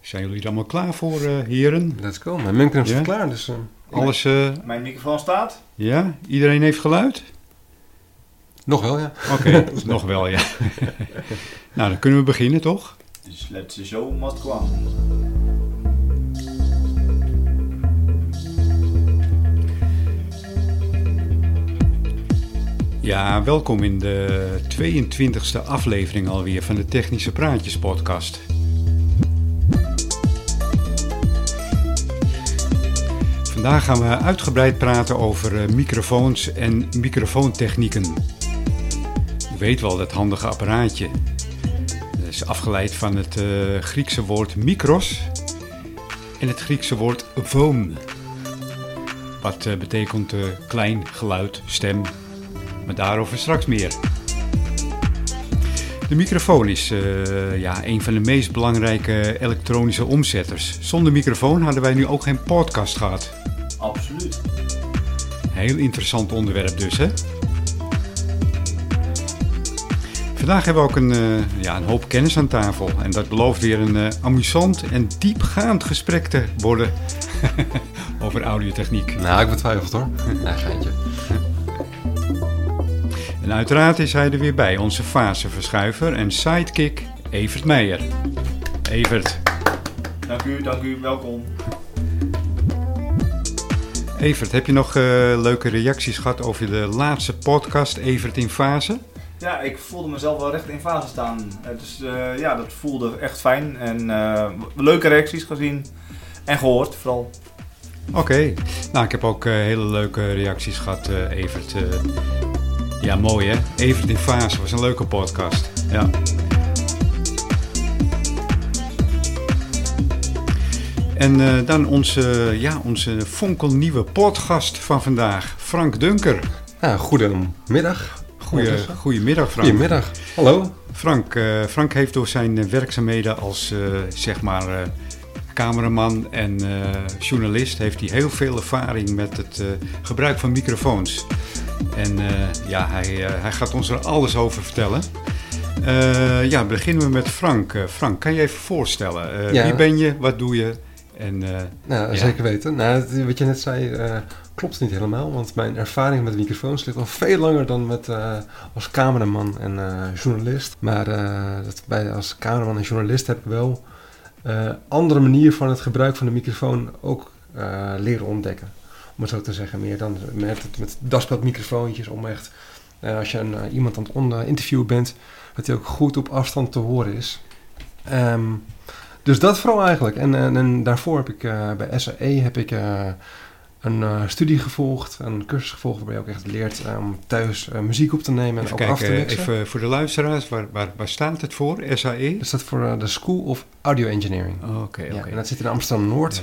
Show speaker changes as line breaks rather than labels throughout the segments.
Zijn jullie er allemaal klaar voor, eh, heren?
Let's go. Mijn mumkin
Ja?
staat klaar, dus... eh,
Alles, eh,
Mijn microfoon staat.
ja? Iedereen heeft geluid?
nog wel, ja.
Oké, nog wel, ja. nou, dan kunnen we beginnen, toch?
Dus let's zo must kwam.
Ja, welkom in de 22e aflevering alweer van de Technische Praatjes podcast. Vandaag gaan we uitgebreid praten over eh, microfoons en microfoontechnieken. U weet wel, dat handige apparaatje. Dat is afgeleid van het eh, Griekse woord mikros en het Griekse woord foon. Wat eh, betekent eh, klein geluid, stem, maar daarover straks meer. De microfoon is eh, ja, een van de meest belangrijke elektronische omzetters. Zonder microfoon hadden wij nu ook geen podcast gehad.
Absoluut.
Heel interessant onderwerp dus, hè? Vandaag hebben we ook een, eh, ja, een hoop kennis aan tafel. En dat belooft weer een eh, amusant en diepgaand gesprek te worden over audiotechniek.
Nou, ik betwijfel het hoor. Ja, geintje.
En uiteraard is hij er weer bij, onze faseverschuiver en sidekick Evert Meijer. Evert,
Dank u, dank u, welkom.
Evert, heb je nog eh, leuke reacties gehad over de laatste podcast Evert in fase?
Ja, ik voelde mezelf wel recht in fase staan. Eh, Dus eh, ja, dat voelde echt fijn. En eh, leuke reacties gezien. En gehoord vooral.
Oké, nou ik heb ook eh, hele leuke reacties gehad eh, Evert. eh. ja, mooi hè? Evert in fase was een leuke podcast. Ja. En eh, dan onze, ja, onze fonkelnieuwe podcast van vandaag, Frank Dunker.
Ja, Nou, goedemiddag.
Goeie, goedemiddag, Frank.
Goedemiddag. Hallo.
Frank, eh, Frank heeft door zijn eh, werkzaamheden als eh, zeg maar eh, cameraman en eh, journalist heeft hij heel veel ervaring met het eh, gebruik van microfoons. En eh, ja, hij, eh, hij gaat ons er alles over vertellen. Eh, ja, beginnen we met Frank. Eh, Frank, kan je even voorstellen? Eh,
Ja.
Wie ben je? Wat doe je? En eh,
Nou,
Ja.
zeker weten. Nou, het- wat je net zei eh, klopt niet helemaal, want mijn ervaring met microfoons ligt al veel langer dan met, eh, als cameraman en eh, journalist. Maar eh, dat bij, als cameraman en journalist heb ik wel eh, andere manier van het gebruik van de microfoon ook eh, leren ontdekken. Om het zo te zeggen, meer dan met, met daspeldmicrofoontjes om echt, eh, als je een, eh, iemand aan het on- eh, interviewen bent, dat hij ook goed op afstand te horen is. Ehm, dus dat vooral eigenlijk. En, en, en daarvoor heb ik eh, bij SAE heb ik, eh, een eh, studie gevolgd, een cursus gevolgd waarbij je ook echt leert eh, om thuis eh, muziek op te nemen en
even
ook af te
kijken, eh,
mixen.
even voor de luisteraars, waar, waar, waar staat het voor? E? SAE?
Dat staat voor eh, de School of Audio Engineering.
Oké,
Ja,
Oh, oké.
en dat zit in Amsterdam-Noord.
Ja.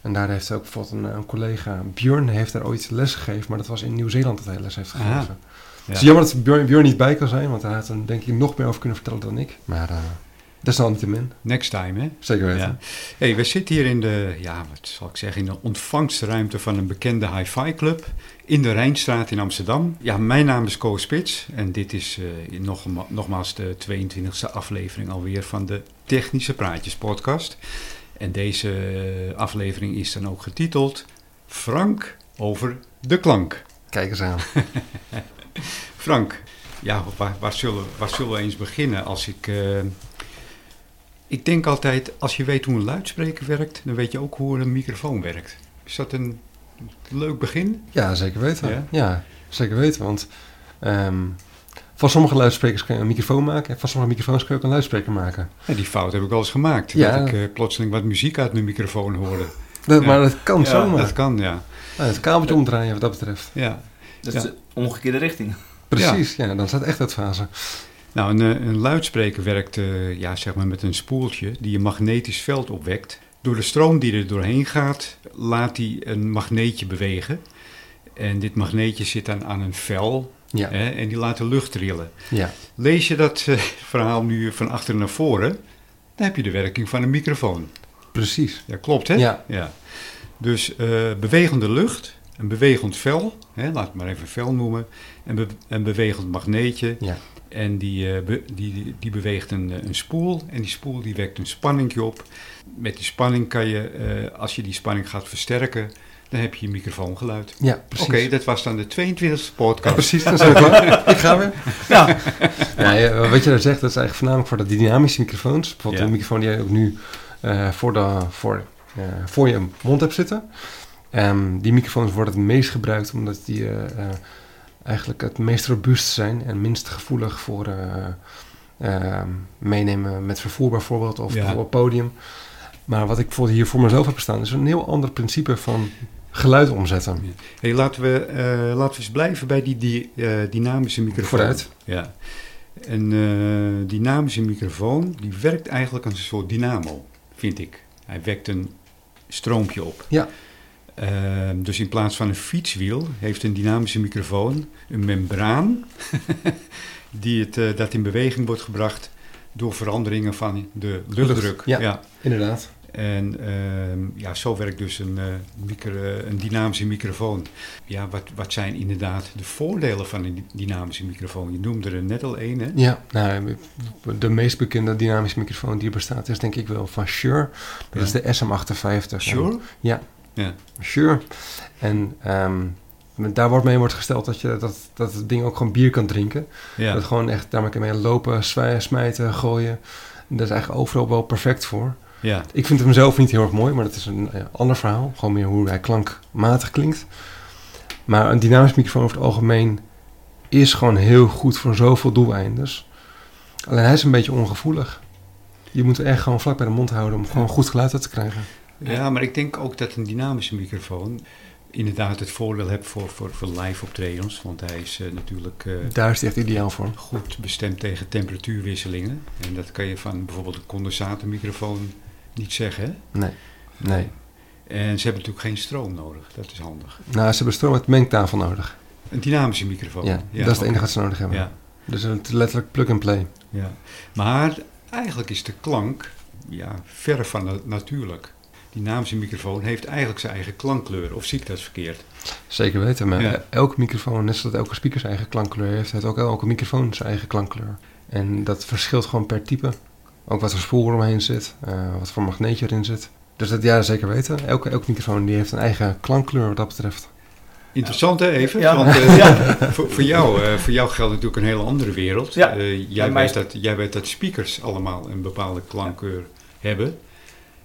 En daar heeft ook bijvoorbeeld een, eh, een collega, Björn, heeft daar ooit les gegeven. Maar dat was in Nieuw-Zeeland dat hij les heeft gegeven.
Aha.
Het
Ja.
is jammer dat Björn, Björn niet bij kan zijn, want hij had er denk ik nog meer over kunnen vertellen dan ik. Maar eh desalniettemin,
Next time, hè?
zeker weten.
Ja. Hey, we zitten hier in de, ja, wat zal ik zeggen, in de ontvangstruimte van een bekende hi-fi club in de Rijnstraat in Amsterdam. Ja, mijn naam is Koos Spits en dit is eh, nogma- nogmaals de 22e aflevering alweer van de Technische Praatjes podcast. En deze eh, aflevering is dan ook getiteld Frank over de klank.
Kijk eens aan.
Frank, ja, waar, waar, zullen, waar zullen we eens beginnen? Als ik, eh, ik denk altijd, als je weet hoe een luidspreker werkt, dan weet je ook hoe een microfoon werkt. Is dat een leuk begin?
Ja, zeker weten.
Ja?
Ja, zeker weten. Want ehm, van sommige luidsprekers kun je een microfoon maken. En van sommige microfoons kun je ook een luidspreker maken.
Ja, die fout heb ik wel eens gemaakt.
Ja.
Dat ik eh, plotseling wat muziek uit mijn microfoon hoorde.
Dat,
Ja.
Maar dat kan
Ja,
zomaar.
Dat kan, ja.
Nou, het kabeltje omdraaien wat dat betreft.
ja.
Dat
Ja.
is de omgekeerde richting.
Precies, ja. dan staat echt dat fase.
Nou, een, eh, een luidspreker werkt eh, ja, zeg maar met een spoeltje die een magnetisch veld opwekt. Door de stroom die er doorheen gaat, laat hij een magneetje bewegen. En dit magneetje zit dan aan een vel
Ja,
hè, en die laat de lucht trillen.
ja.
Lees je dat eh, verhaal nu van achter naar voren, dan heb je de werking van een microfoon.
precies.
Ja, klopt hè?
Ja.
Dus eh, bewegende lucht, een bewegend vel, hè, laat het maar even vel noemen, en een bewegend magneetje.
Ja.
En die, eh, be- die, die beweegt een, eh, een spoel. En die spoel die wekt een spanningje op. Met die spanning kan je, eh, als je die spanning gaat versterken, dan heb je je microfoongeluid.
Ja,
Oké,
precies.
dat was dan de 22e
Ja,
podcast.
precies, dan zijn we klaar. Ik ga weer.
Ja.
Ja, ja, wat je daar zegt, dat is eigenlijk voornamelijk voor de dynamische microfoons. Bijvoorbeeld
Ja.
de microfoon die jij ook nu eh, voor, de, voor, eh, voor je mond hebt zitten. Ehm, die microfoons worden het meest gebruikt omdat die eh, eh, eigenlijk het meest robuust zijn en minst gevoelig voor eh, ehm, meenemen met vervoer bijvoorbeeld of
Ja.
bijvoorbeeld op podium. Maar wat ik bijvoorbeeld hier voor mezelf heb staan is een heel ander principe van geluid omzetten.
Hey, laten, we, eh, laten we eens blijven bij die, die eh, dynamische microfoon.
Vooruit.
Ja. Een eh, dynamische microfoon, die werkt eigenlijk als een soort dynamo, vind ik. Hij wekt een stroompje op.
Ja.
Ehm, dus in plaats van een fietswiel heeft een dynamische microfoon een membraan die het, eh, dat in beweging wordt gebracht door veranderingen van de luchtdruk.
ja. Inderdaad.
En ehm, ja, zo werkt dus een, eh, micro- een dynamische microfoon. Ja, wat, wat zijn inderdaad de voordelen van een dy- dynamische microfoon? Je noemde er net al één, hè?
Ja, nou, de meest bekende dynamische microfoon die er bestaat is denk ik wel van Shure. Dat
Ja.
is de SM58.
Sure?
En- Shure. En ehm, daar wordt mee wordt gesteld dat, je, dat, dat het ding ook gewoon bier kan drinken.
Ja.
Dat gewoon echt, daarmee kan je mee lopen, zwij- smijten, gooien. En dat is eigenlijk overal wel perfect voor.
ja.
Ik vind hem zelf niet heel erg mooi, maar dat is een eh, ander verhaal. Gewoon meer hoe hij klankmatig klinkt. Maar een dynamisch microfoon over het algemeen is gewoon heel goed voor zoveel doeleindes. Alleen hij is een beetje ongevoelig. Je moet hem echt gewoon vlak bij de mond houden om gewoon goed geluid uit te krijgen.
Ja, maar ik denk ook dat een dynamische microfoon inderdaad het voordeel heeft voor, voor, voor live optredens. Want hij is eh, natuurlijk eh,
Daar is hij echt ideaal voor.
goed bestemd tegen temperatuurwisselingen. En dat kan je van bijvoorbeeld een condensatormicrofoon niet zeggen. hè?
Nee. Nee.
En ze hebben natuurlijk geen stroom nodig. Dat is handig.
Nou, ze hebben stroom met mengtafel nodig.
Een dynamische microfoon.
Oh. ja, dat is het
oké.
enige wat ze nodig hebben.
Ja,
Dus het is letterlijk plug and play.
ja. Maar eigenlijk is de klank ja, ver van na- natuurlijk. Die naamse microfoon heeft eigenlijk zijn eigen klankkleur. Of zie ik dat verkeerd?
Zeker weten, maar
Ja.
elk microfoon, net zoals elke speaker zijn eigen klankkleur heeft, heeft ook elke microfoon zijn eigen klankkleur. En dat verschilt gewoon per type. Ook wat voor spoel eromheen zit, eh, wat voor magneetje erin zit. Dus dat ja, zeker weten. Elke, elke microfoon die heeft een eigen klankkleur wat dat betreft.
Interessant hè, even?
Ja.
Want eh,
Ja.
voor, voor, jou, eh, voor jou geldt natuurlijk een hele andere wereld.
Ja.
Eh, jij,
Ja, mij-
weet dat, jij weet dat speakers allemaal een bepaalde klankkleur hebben.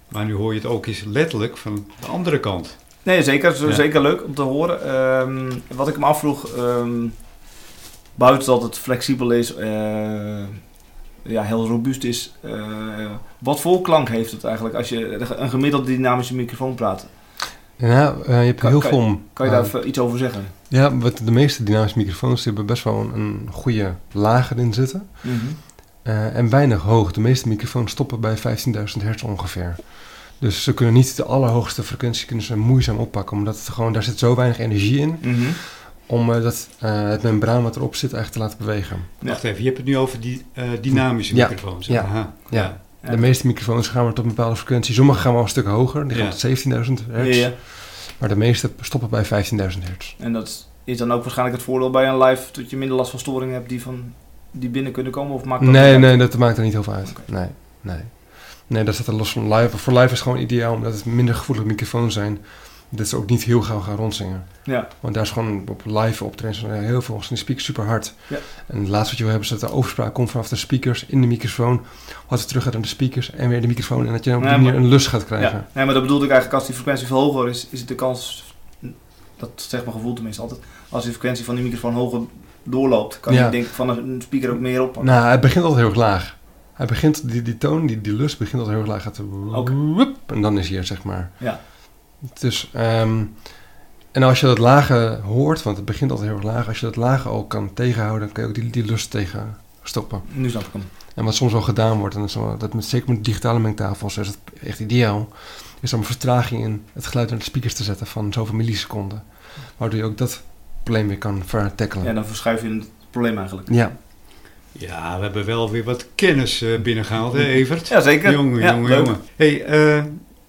Maar nu hoor je het ook eens letterlijk van de andere kant.
Nee, zeker. Het is
Ja.
Zeker leuk om te horen. Ehm, wat ik me afvroeg, ehm, buiten dat het flexibel is, eh, ja, heel robuust is, eh, wat voor klank heeft het eigenlijk als je een gemiddelde dynamische microfoon praat?
En ja, eh, je hebt
Kan-
heel
kan-
veel...
Kan je
eh,
daar even iets over zeggen?
Ja, wat de meeste dynamische microfoons die hebben best wel een, een goede laag erin zitten. Eh, en weinig hoog. De meeste microfoons stoppen bij 15.000 hertz ongeveer. Dus ze kunnen niet de allerhoogste frequentie kunnen ze moeizaam oppakken. Omdat het gewoon, daar zit zo weinig energie in
Mhm.
om eh, dat, eh, het membraan wat erop zit eigenlijk te laten bewegen.
Ja.
Wacht even, je hebt het nu over die eh, dynamische
Ja.
microfoons.
Ja.
Aha.
Ja.
Ja.
De meeste microfoons gaan maar tot een bepaalde frequentie. Sommige gaan wel een stuk hoger. Die
Ja.
gaan tot 17.000 hertz.
Ja, ja.
Maar de meeste stoppen bij 15.000 hertz.
En dat is dan ook waarschijnlijk het voordeel bij een live, dat je minder last van storingen hebt die, van, die binnen kunnen komen? Of maakt dat
Nee,
niet
nee,
uit?
dat maakt er niet heel veel uit.
Oké.
Nee, nee. Nee, dat staat er los van live. Voor live is het gewoon ideaal omdat het minder gevoelige microfoons zijn. Dat ze ook niet heel gauw gaan rondzingen.
Ja.
Want daar is gewoon op live optredens zijn er heel veel. Zijn die speakers super hard.
Ja.
En het laatste wat je wil hebben is dat de overspraak komt vanaf de speakers in de microfoon. Wat weer terug gaat naar de speakers en weer de microfoon. En dat je op die
Ja,
manier
maar-
een lus gaat krijgen.
Ja, nee, maar dat bedoelde ik eigenlijk, als die frequentie veel hoger is, is het de kans, dat zegt mijn gevoel tenminste altijd, als die frequentie van die microfoon hoger doorloopt, kan
Ja.
je denk ik van een speaker ook meer oppakken.
Nou, hij begint altijd heel erg laag. Hij begint, die, die toon, die, die lus begint altijd heel erg laag. Gaat
Oké.
woep, en dan is hij er, zeg maar.
Ja.
Dus, ehm, en als je dat lage hoort, want het begint altijd heel erg laag. Als je dat lage al kan tegenhouden, dan kun je ook die, die lus tegen stoppen.
Nu snap ik hem.
En wat soms wel gedaan wordt, en dat, is wel- dat met, zeker met digitale mengtafels is het echt ideaal, is om een vertraging in het geluid naar de speakers te zetten van zoveel milliseconden. Waardoor je ook dat probleem weer kan vertackelen.
Ja, dan verschuif je het probleem eigenlijk.
ja,
Ja, we hebben wel weer wat kennis eh, binnengehaald, hè, Evert?
Ja, zeker.
Jongen,
ja,
jongen,
leuk.
jongen. Hey, eh,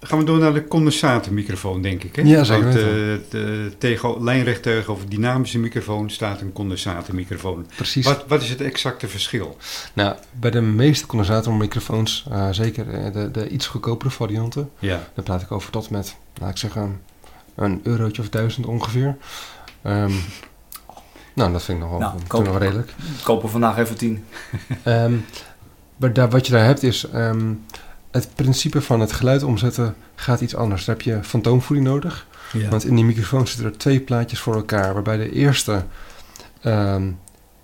Gaan we door naar de condensatormicrofoon, denk ik. Hè?
Ja, zeker
Want, eh,
weten.
de, tegen, lijnrecht tegenover dynamische microfoon staat een condensatormicrofoon.
Precies.
Wat, wat is het exacte verschil?
Nou, bij de meeste condensatormicrofoons, eh, zeker eh, de, de iets goedkopere varianten,
Ja,
daar praat ik over tot met, laat ik zeggen, een eurotje of duizend ongeveer. Ehm, nou, dat vind ik nog wel,
Nou,
vind ik
koop.
nog wel redelijk.
Kopen vandaag even 10.
Ehm, maar daar, wat je daar hebt is, ehm, het principe van het geluid omzetten gaat iets anders. Daar heb je fantoomvoeding nodig.
ja.
Want in die microfoon zitten er twee plaatjes voor elkaar, waarbij de eerste ehm,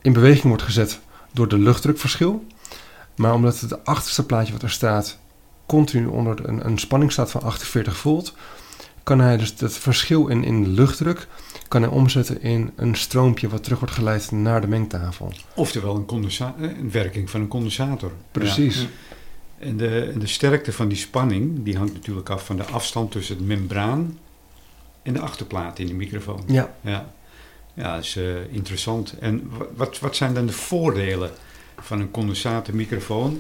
in beweging wordt gezet door de luchtdrukverschil. Maar omdat het achterste plaatje wat er staat continu onder de- een, een spanning staat van 48 volt, kan hij dus dat verschil in, in luchtdruk kan hij omzetten in een stroompje wat terug wordt geleid naar de mengtafel.
Oftewel een, condensa- eh, een werking van een condensator. Ja.
Precies.
En de, en de sterkte van die spanning die hangt natuurlijk af van de afstand tussen het membraan en de achterplaat in de microfoon.
Ja.
Ja, ja dat is eh, interessant. En wa- wat, wat zijn dan de voordelen van een condensatormicrofoon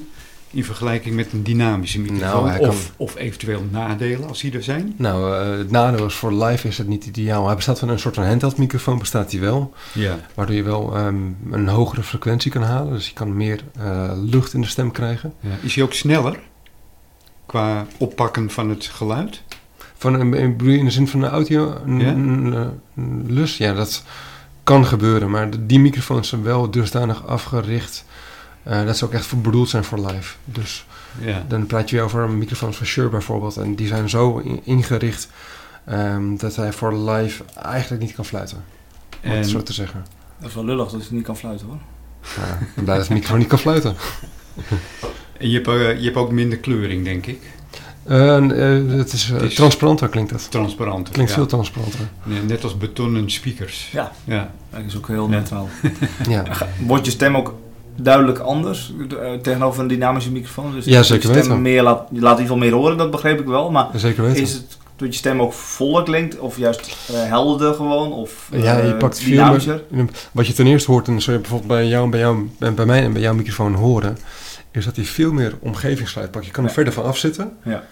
in vergelijking met een dynamische microfoon?
Nou, hij
of, of eventueel nadelen als die er zijn?
Nou, eh, het nadeel is voor live is het niet ideaal. Hij bestaat van een soort van handheld microfoon, bestaat hij wel.
Ja,
Waardoor je wel ehm, een hogere frequentie kan halen. Dus je kan meer eh, lucht in de stem krijgen.
Is hij ook sneller qua oppakken van het geluid?
Van, een- een- bedoel je in de zin van een audio? Een,
Ja.
een, eh, een lus? Ja, dat kan gebeuren. Maar de- die microfoons zijn wel dusdanig afgericht. eh, dat ze ook echt voor bedoeld zijn voor live. Dus
Ja,
dan praat je weer over microfoons van Shure bijvoorbeeld. En die zijn zo in- ingericht ehm, dat hij voor live eigenlijk niet kan fluiten. Om
En-
het zo te zeggen.
Dat is wel lullig dat je niet kan fluiten hoor.
Ja, ik ben blij dat de microfoon niet kan fluiten.
en je hebt, eh, je hebt ook minder kleuring, denk ik.
Eh, eh, het is eh,
Het is-
transparanter klinkt dat.
Transparanter.
Klinkt
ja.
veel transparanter.
Nee, Net als betonnen speakers.
Ja.
ja.
Dat is ook heel
Ja.
neutraal.
Ja,
Wordt je stem ook duidelijk anders eh, tegenover een dynamische microfoon? Dus
Ja,
dat
zeker
je stem
weten.
Meer laat, je laat in ieder geval meer horen, dat begreep ik wel. Maar
zeker weten.
is het dat je stem ook voller klinkt? Of juist eh, helderder gewoon? Of
Ja, je
eh,
pakt veel
dynamischer?
Wat je ten eerste hoort, en dat zul je bijvoorbeeld bij jou, en bij, jou en bij mij en bij jouw microfoon horen, is dat hij veel meer omgevingsgeluid pakt. Je kan er
Ja.
verder van afzitten.
Ja.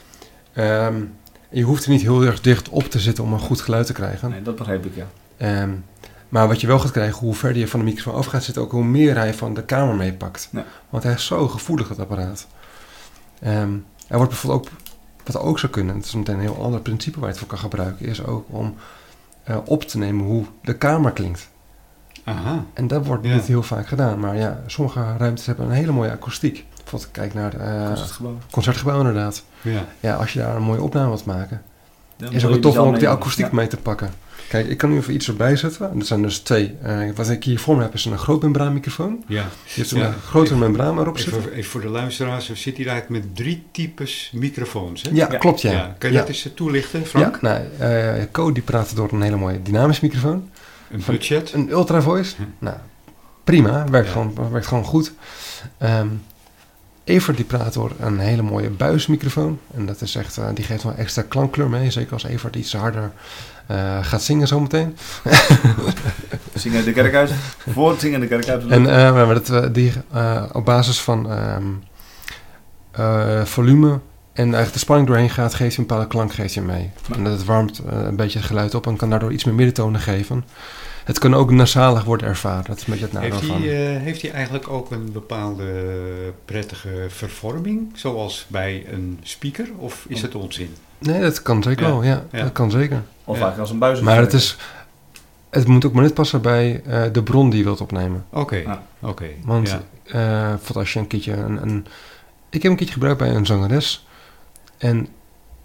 Ehm, je hoeft er niet heel erg dicht op te zitten om een goed geluid te krijgen.
Nee, dat begreep ik, ja.
Ehm, maar wat je wel gaat krijgen, hoe verder je van de microfoon af gaat zitten, ook hoe meer hij van de kamer meepakt.
Ja.
Want hij is zo gevoelig, dat apparaat. Ehm hij wordt bijvoorbeeld ook, wat ook zou kunnen, het is meteen een heel ander principe waar je het voor kan gebruiken, is ook om eh, op te nemen hoe de kamer klinkt.
Aha.
En dat wordt
Ja.
niet heel vaak gedaan. Maar ja, sommige ruimtes hebben een hele mooie akoestiek. Bijvoorbeeld kijk naar het eh,
Dat is het gewoon.
concertgebouw inderdaad.
Ja.
Ja, als je daar een mooie opname wilt maken,
Ja,
is
dan
het
wil
ook
je
tof om
zelf
ook die
meenemen.
akoestiek
Ja.
mee te pakken. Kijk, ik kan nu even iets erbij zetten. En Dat zijn dus twee. eh, wat ik hier voor me heb is een groot membraanmicrofoon.
ja.
Je hebt
Ja.
een grotere membraan erop
Even,
zitten.
voor- even voor de luisteraars, we zitten hier eigenlijk met drie types microfoons. Hè?
Ja,
Ja.
klopt ja.
Kan je dat eens eh, toelichten, Frank?
Ja, nou, eh, Co die praatte door een hele mooie dynamisch microfoon.
Een budget?
Een ultra voice?
Hm.
Nou, prima. Werkt,
Ja.
gewoon, werkt gewoon goed. Ehm Evert die praat door een hele mooie buismicrofoon. En dat is echt, eh, die geeft wel extra klankkleur mee. Zeker als Evert iets harder eh, gaat zingen zometeen.
Zingen de kerk uit. Voor het zingen de kerk uit.
En eh, maar dat, eh, die eh, op basis van ehm, eh, volume en echt de spanning doorheen gaat, geeft hij een bepaalde klank geeft hij mee. En dat het warmt eh, een beetje het geluid op en kan daardoor iets meer middentonen geven. Het kan ook nasalig worden ervaren. Dat is een beetje het nadeel
heeft, hij,
van.
eh, heeft hij eigenlijk ook een bepaalde prettige vervorming, zoals bij een speaker? Of is het onzin?
Nee, dat kan zeker
Ja,
wel, ja.
ja. Dus-
Dat kan zeker.
Of
Ja.
eigenlijk als een buis.
Maar het, is, het moet ook maar net passen bij eh, de bron die je wilt opnemen.
Oké,
Ja.
oké.
Want
ja.
eh, bijvoorbeeld als je een keertje... Een, een, ik heb een keertje gebruikt bij een zangeres. En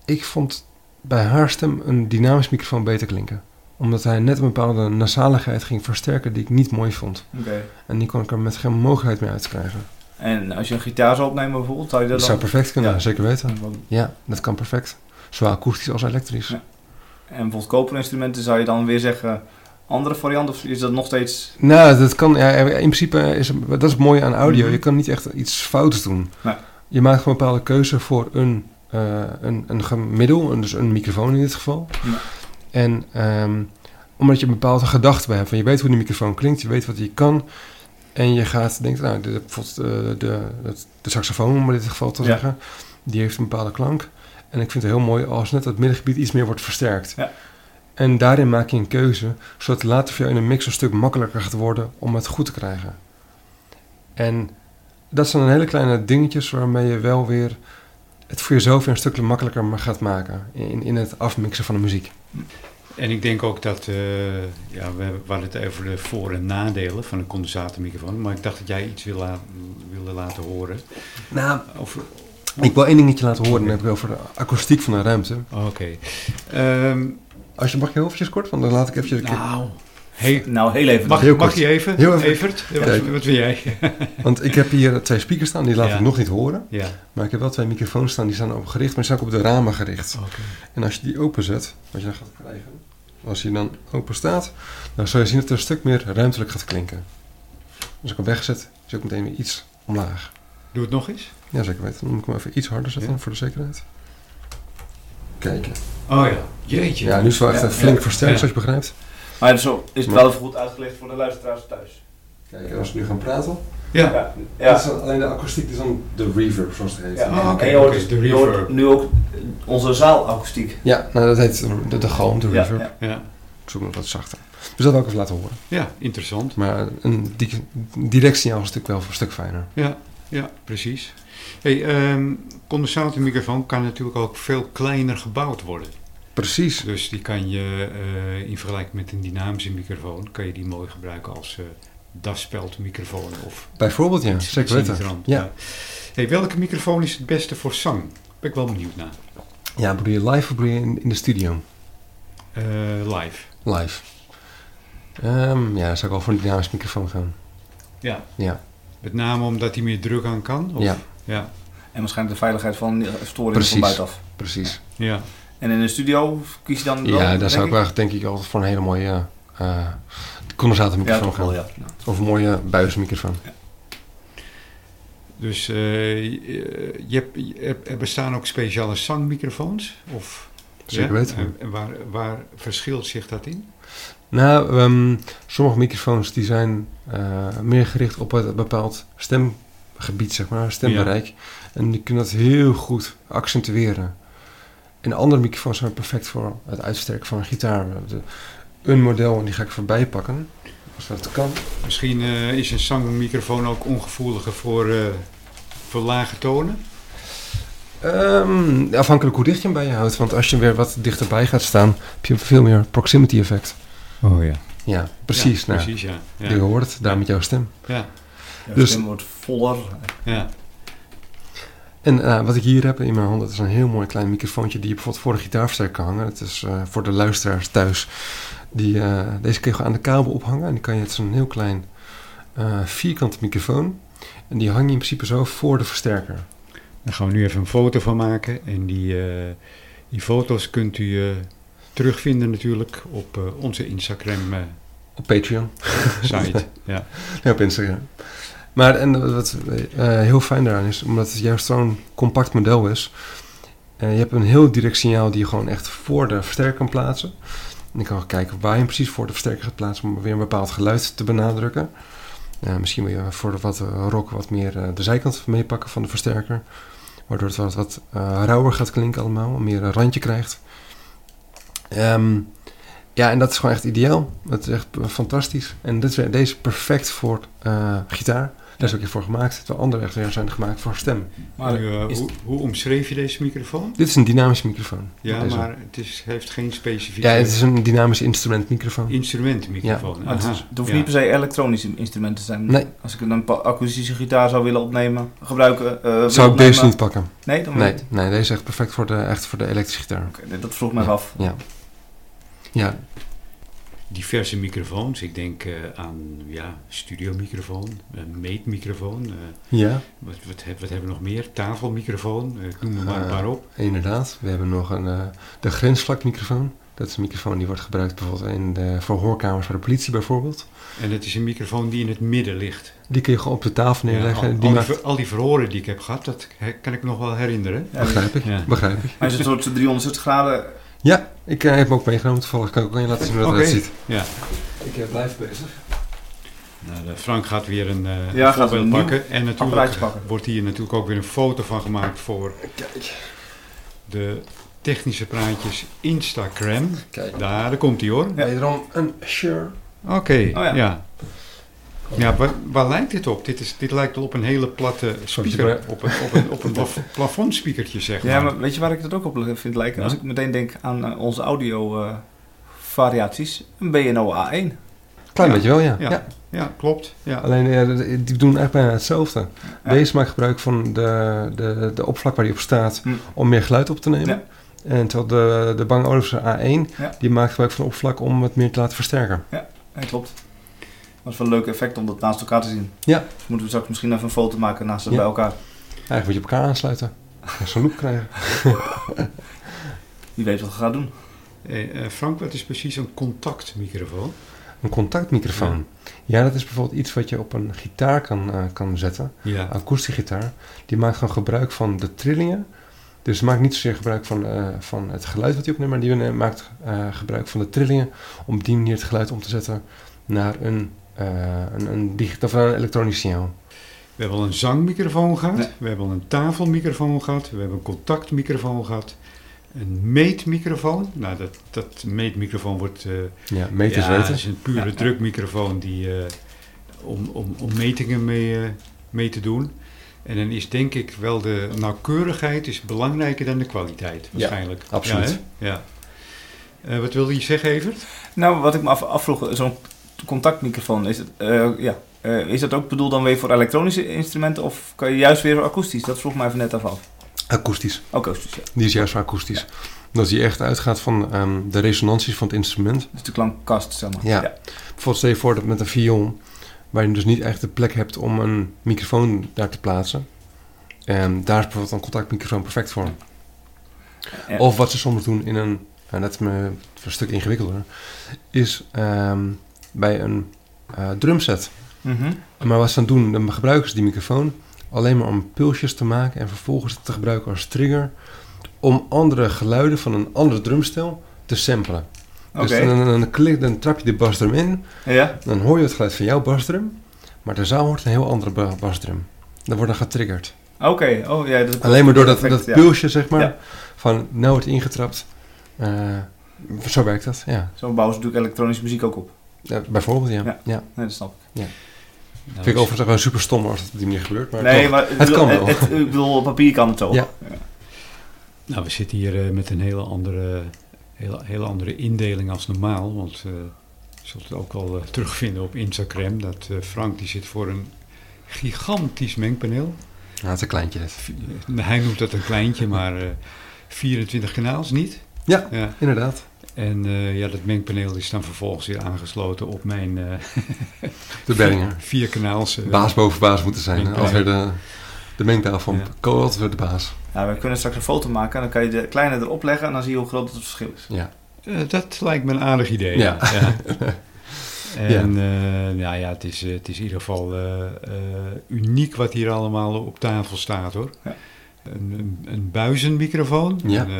ik vond bij haar stem een dynamisch microfoon beter klinken. Omdat hij net een bepaalde nasaligheid ging versterken die ik niet mooi vond.
Oké.
En die kon ik er met geen mogelijkheid mee uitkrijgen.
En als je een gitaar zou opnemen bijvoorbeeld, zou je dat
Dat
dan...
zou perfect kunnen,
Ja.
zeker weten.
Want-
Ja, dat kan perfect. Zowel akoestisch als elektrisch.
Ja. En bijvoorbeeld koperinstrumenten zou je dan weer zeggen... Andere variant, of is dat nog steeds...
Nou, dat kan. Ja, in principe is het- dat is het mooie aan audio.
Mhm.
Je kan niet echt iets fouts doen.
Nee.
Je maakt gewoon een bepaalde keuze voor een, eh, een, een gemiddel, een- dus een microfoon in dit geval.
Ja.
En ehm, omdat je een bepaalde gedachte bij hebt, van je weet hoe die microfoon klinkt, je weet wat hij kan. En je gaat denken, nou, de, bijvoorbeeld eh, de, het- de saxofoon, om in dit geval te
Ja.
zeggen, die heeft een bepaalde klank. En ik vind het heel mooi als net het middengebied iets meer wordt versterkt.
Ja.
En daarin maak je een keuze, zodat later voor jou in een mix een stuk makkelijker gaat worden om het goed te krijgen. En dat zijn dan hele kleine dingetjes waarmee je wel weer het voor jezelf weer een stuk makkelijker ma- gaat maken in, in het afmixen van de muziek.
En ik denk ook dat, eh, ja, we hebben- we hadden het over de voor- en nadelen van een condensatormicrofoon. Maar ik dacht dat jij iets wil la- wilde laten horen.
Nou,
Of,
ik wil één dingetje laten horen, dan heb ik wel voor de akoestiek van de ruimte.
Oké. Ehm,
Als je mag je heel eventjes kort, want dan laat ik eventjes...
nou, hey,
Nou, heel even.
mag,
Heel
mag
kort.
je even?
Heel even.
Evert, wat,
Kijk.
wat wil jij?
Want ik heb hier twee speakers staan, die laat
Ja.
ik nog niet horen.
ja,
Maar ik heb wel twee microfoons staan, die staan op gericht, maar die staan ook op de ramen gericht.
oké.
En als je die openzet, wat je dan gaat krijgen, als die dan open staat, dan zal je zien dat het een stuk meer ruimtelijk gaat klinken. Als ik hem wegzet, is ook meteen weer iets omlaag.
Doe het nog eens.
Ja, zeker weten. Dan moet ik hem even iets harder zetten voor de zekerheid. Kijk.
Oh ja, jeetje.
Ja, nu is het wel echt
Ja,
eh, flink
ja.
versterkt,
Ja.
zoals je begrijpt.
Maar zo is het wel even goed uitgelegd voor de luisteraars thuis.
Kijk, en als we nu gaan praten,
Ja.
Ja. ja.
is dan alleen de akoestiek, is dan de reverb, zoals het heet.
Ja.
Ah, oké,
en je hoort,
oké,
dus-
de
je hoort
reverb.
nu ook eh, onze zaalakoestiek.
Ja, nou dat heet de, de, de galm, de
Ja,
reverb.
ja.
Ja.
Ik zoek nog wat zachter. Dus dat wil ik even laten horen.
ja, interessant.
Maar eh, een di- direct signaal is natuurlijk wel een stuk fijner.
Ja, ja precies. Hey, ehm condensatormicrofoon kan natuurlijk ook veel kleiner gebouwd worden.
Precies.
Dus die kan je eh, in vergelijking met een dynamische microfoon, kan je die mooi gebruiken als eh daspeldmicrofoon of
Bijvoorbeeld, ja. Zeker weten.
sinitrant.
Ja.
Hey, welke microfoon is het beste voor zang? Ben ik wel benieuwd naar.
Ja, bedoel je live of bedoel je in, in de studio?
Eh, live.
Live. Ehm, ja, dan zou ik wel voor een dynamisch microfoon gaan.
Ja.
Ja.
Met name omdat hij meer druk aan kan? Of?
Ja,
ja.
En waarschijnlijk de veiligheid van eh, storingen
Precies.
van buitenaf.
precies.
Ja.
En in de studio kies je dan wel,
Ja, daar
denk
zou ik
ik?
wel denk ik altijd voor een hele mooie eh condensatormicrofoon
Ja, toch
gaan.
wel, ja.
Of een mooie buismicrofoon.
Dus eh, je, je hebt- je- er- er bestaan ook speciale zangmicrofoons? Of,
Zeker
Ja?
weten.
En- En waar, waar verschilt zich dat in?
Nou, ehm, sommige microfoons die zijn eh, meer gericht op een bepaald stemgebied, zeg maar, stembereik. En die kunnen dat heel goed accentueren. En andere microfoons zijn perfect voor het uitsterken van een gitaar. We hebben de- een model en die ga ik voorbij pakken, als dat kan.
Misschien eh, is een zangmicrofoon ook ongevoeliger voor, eh, voor lage tonen?
Ehm, afhankelijk hoe dicht je hem bij je houdt, want als je weer wat dichterbij gaat staan, heb je veel meer proximity effect.
Oh ja.
Ja, precies. nou,
precies, ja. Ja,
Je
ja.
hoort het daar met jouw stem.
ja,
Ja,
Dus-
dus stem wordt voller.
En eh, wat ik hier heb in mijn hand, dat is een heel mooi klein microfoontje die je bijvoorbeeld voor een gitaarversterker kan hangen. Het is eh, voor de luisteraars thuis. Die, eh, deze kun je gewoon aan de kabel ophangen en die kan je, het is een heel klein eh vierkant microfoon. En die hang je in principe zo voor de versterker.
Daar gaan we nu even een foto van maken. En die, eh, die foto's kunt u eh, terugvinden natuurlijk op eh, onze eh, Instagram-site.
Op Patreon, ja, op Instagram. Maar en wat eh, heel fijn daaraan is, omdat het juist zo'n compact model is. eh, je hebt een heel direct signaal die je gewoon echt voor de versterker kan plaatsen. En ik kan ook kijken waar je hem precies voor de versterker gaat plaatsen om weer een bepaald geluid te benadrukken. Eh, misschien wil je voor de wat eh, rock wat meer eh, de zijkant meepakken van de versterker. Waardoor het wat, wat eh, rauwer gaat klinken allemaal, meer een randje krijgt. Ehm, ja, en dat is gewoon echt ideaal. Dat is echt eh, fantastisch. En dit is, weer- deze is perfect voor eh, gitaar. Daar is ook weer voor gemaakt. Terwijl andere echt weer zijn gemaakt voor stem.
Maar
Nu, eh,
is-
hoe, hoe omschreef je deze microfoon?
Dit is een dynamische microfoon.
Ja,
Deze.
maar het is, heeft geen specifieke
Ja, het is een dynamisch instrumentmicrofoon.
instrumentenmicrofoon.
Ah, het,
Aha.
is- het hoeft
Ja.
niet per se elektronische instrumenten te zijn.
Nee.
Als ik een pa- akoestische gitaar zou willen opnemen, gebruiken. eh, wil
Zou ik deze
opnemen-
niet pakken?
Nee, dan
Nee, nee, deze is echt perfect voor de, echt voor de elektrische gitaar.
Oké, nee, dat vroeg mij af.
Ja. Ja,
diverse microfoons. Ik denk eh, aan ja, studiomicrofoon, een meetmicrofoon. eh,
ja,
wat, wat, heb- wat hebben we nog meer? Tafelmicrofoon, eh, ik noem er maar een
Eh,
paar op.
inderdaad. We hebben nog een, eh, de grensvlakmicrofoon. Dat is een microfoon die wordt gebruikt bijvoorbeeld in de, voor hoorkamers van de politie bijvoorbeeld.
En het is een microfoon die in het midden ligt.
Die kun je gewoon op de tafel
Ja, al,
neerleggen.
al
die
die
maakt,
ver- al die verhoren die ik heb gehad, dat he- kan ik nog wel herinneren.
Ja, dus-
begrijp ik,
Ja.
begrijp ik.
maar is het een soort 360 graden?
Ja, ik eh, heb hem ook meegenomen. Toevallig kan ik ook aan je laten zien hoe dat
Oké.
eruit ziet.
Ja.
Ik heb blijf bezig.
Nou, de Frank gaat weer een eh,
Ja, gaat
voorbeeld
een nieuw
pakken. En natuurlijk
apparaatje pakken.
wordt hier natuurlijk ook weer een foto van gemaakt voor
Kijk.
de technische praatjes Instagram.
Kijk,
Daar, daar komt hij hoor.
Ja.
wederom een sure.
Oké,
Oh
ja.
ja.
ja. waar, waar lijkt dit op? Dit, is, dit lijkt wel op een hele platte speaker,
maar-
op een, op een, op een plaf- plafondspiekertje zeg maar.
Ja, maar weet je waar ik dat ook op vind lijken?
Ja.
Als ik meteen denk aan eh, onze audio eh, variaties, een BNO A1.
Klein
Ja.
beetje wel, ja.
Ja.
ja.
Ja, klopt. Ja.
Alleen, ja, de- de- die doen eigenlijk bijna hetzelfde.
Ja.
Deze maakt gebruik van de, de, de oppervlak waar die op staat
Hm.
om meer geluid op te nemen.
Ja.
En terwijl de, de Bang Olufsen A1,
Ja.
die maakt gebruik van de oppervlak om het meer te laten versterken.
Ja, klopt. Dat is wel een leuk effect om dat naast elkaar te zien.
Ja.
Dus moeten we straks misschien even een foto maken naast ze
Ja.
bij elkaar.
Eigenlijk moet je op elkaar aansluiten. En Zo'n loop krijgen.
Wie weet wat we gaan doen.
Hey, eh, Frank, wat is precies een contactmicrofoon?
Een contactmicrofoon. Ja. dat is bijvoorbeeld iets wat je op een gitaar kan, eh, kan zetten.
Ja.
Een akoestiegitaar. Die maakt gewoon gebruik van de trillingen. Dus het maakt niet zozeer gebruik van, eh, van het geluid wat hij opneemt, maar die eh, maakt eh, gebruik van de trillingen om op die manier het geluid om te zetten naar een, eh, een, een, digitaal, of een elektronisch signaal.
We hebben al een zangmicrofoon gehad,
Ja.
we hebben al een tafelmicrofoon gehad, we hebben een contactmicrofoon gehad, een meetmicrofoon. Nou, dat, dat meetmicrofoon wordt. eh
Ja, meters
ja,
weten.
is een pure
Ja, ja.
drukmicrofoon die, eh, om, om, om metingen mee, eh, mee te doen. En dan is denk ik wel de nauwkeurigheid is belangrijker dan de kwaliteit, waarschijnlijk. Ja,
absoluut.
hè? Ja. Eh, wat wilde je zeggen, Evert?
Nou, wat ik me af, afvroeg, zo'n contactmicrofoon, is, het, eh, ja, eh, is dat ook bedoeld dan weer voor elektronische instrumenten of kan je juist weer voor akoestisch? Dat vroeg mij even net af af.
Akoestisch.
Akoestisch, ja.
Die is juist voor akoestisch. Dat die echt uitgaat van ehm, de resonanties van het instrument.
Dus de klankkast, zeg maar.
Ja. Bijvoorbeeld stel je voor dat met een viool, waar je dus niet echt de plek hebt om een microfoon daar te plaatsen. En daar is bijvoorbeeld een contactmicrofoon perfect voor.
Ja.
Of wat ze soms doen in een, en dat is me een stuk ingewikkelder, is ehm, bij een eh, drumset.
Mhm.
Maar wat ze dan doen, dan gebruiken ze die microfoon alleen maar om pulsjes te maken en vervolgens te gebruiken als trigger om andere geluiden van een andere drumstel te samplen.
Oké.
Dus eh, dan, dan, dan klik, dan trap je de basdrum in
Ja.
dan hoor je het geluid van jouw basdrum, maar de zaal hoort een heel andere ba- basdrum. Dan wordt dan getriggerd.
Oké. Oh, ja, dat
Alleen maar door dat, dat
Perfect, ja.
pulsje, zeg maar,
Ja.
van nou wordt ingetrapt. Eh, zo werkt dat, ja.
Zo bouwen ze natuurlijk elektronische muziek ook op.
Ja, bijvoorbeeld, ja.
Ja.
ja.
Nee, dat snap ik.
Nou,
Vind ik overigens ook wel super stom als het op die manier gebeurt. Maar
nee,
toch.
maar ik
het
bedoel,
kan wel.
Het, ik bedoel, op papier kan het zo.
Ja.
Nou, we zitten hier eh, met een hele andere, hele, hele andere indeling als normaal. Want eh, je zult het ook al eh, terugvinden op Instagram. Dat eh, Frank die zit voor een gigantisch mengpaneel.
Ja, het is een kleintje dus. dit.
V- eh, Hij noemt dat een kleintje, maar eh, 24 kanaals niet.
Ja.
ja.
Inderdaad.
En eh, ja, dat mengpaneel is dan vervolgens weer aangesloten op mijn eh,
De Berlinger.
vier kanaals. eh,
Baas boven baas moeten zijn. hè.
Mengpaneel.
Als weer de, de mengtafel.
Ja.
Ko altijd weer de baas.
Nou, we kunnen straks een foto maken en dan kan je de kleine erop leggen en dan zie je hoe groot het verschil is.
Ja.
Eh, dat lijkt me een aardig idee.
Ja.
En eh, nou ja, het is, eh, het is in ieder geval eh, eh, uniek wat hier allemaal op tafel staat hoor.
Ja.
Een, een, een buizenmicrofoon,
Ja.
een, eh,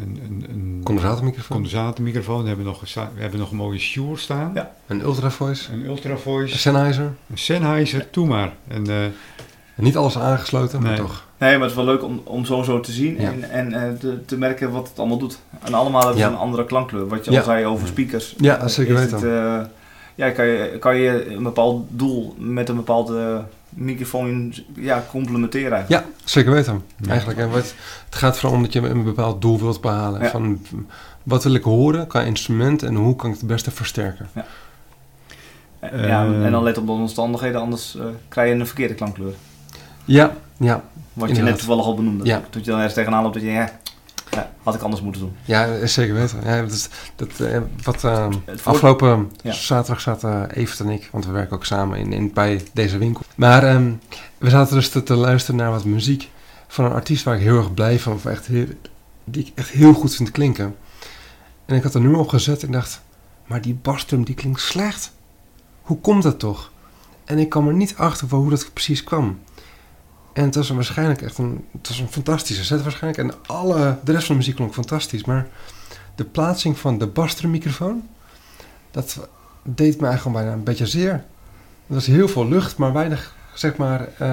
een, een, een
Condensatormicrofoon.
condensatormicrofoon. We hebben, nog een, sa- we hebben nog een mooie Shure staan,
Ja.
Een ultravoice.
een
Een
Ultravoice,
Sennheiser.
een Sennheiser, toe maar. En, eh,
Niet alles aangesloten, maar
Nee.
toch.
Nee, maar het is wel leuk om, om zo zo te zien
Ja.
en, en eh, te, te merken wat het allemaal doet. En allemaal hebben ze
Ja.
een andere klankkleur. Wat je
Ja.
al zei over speakers.
Ja, dat zeker
Is
weten.
het, eh, ja, kan je, kan je een bepaald doel met een bepaalde microfoon ja, complementeren eigenlijk.
Ja, zeker weten.
Ja.
Eigenlijk, hè, wat, het gaat vooral om dat je een bepaald doel wilt behalen.
Ja.
Van, wat wil ik horen qua instrument en hoe kan ik het beste versterken?
En- ja,
Eh.
en dan let op de omstandigheden, anders eh, krijg je een verkeerde klankkleur.
Ja, ja.
Wat je
Inderdaad.
net toevallig al benoemde.
Ja.
Dat je dan ergens tegenaan loopt dat je ja, ja, had ik anders moeten doen.
ja zeker weten. Ja, dat, is- dat, eh, wat, eh,
Het voor-
afgelopen
Ja.
zaterdag zaten Evert en ik, want we werken ook samen in, in, bij deze winkel. Maar ehm, we zaten dus te, te luisteren naar wat muziek van een artiest waar ik heel erg blij van, of echt heel, die ik echt heel goed vind klinken. En ik had er nu op gezet en dacht, maar die basdrum die klinkt slecht. Hoe komt dat toch? En ik kwam er niet achter van hoe dat precies kwam. En het was een waarschijnlijk echt een, het was een fantastische set waarschijnlijk. En alle, de rest van de muziek klonk fantastisch. Maar de plaatsing van de basdrummicrofoon, dat deed me eigenlijk bijna een beetje zeer. Er was heel veel lucht, maar weinig, zeg maar, eh,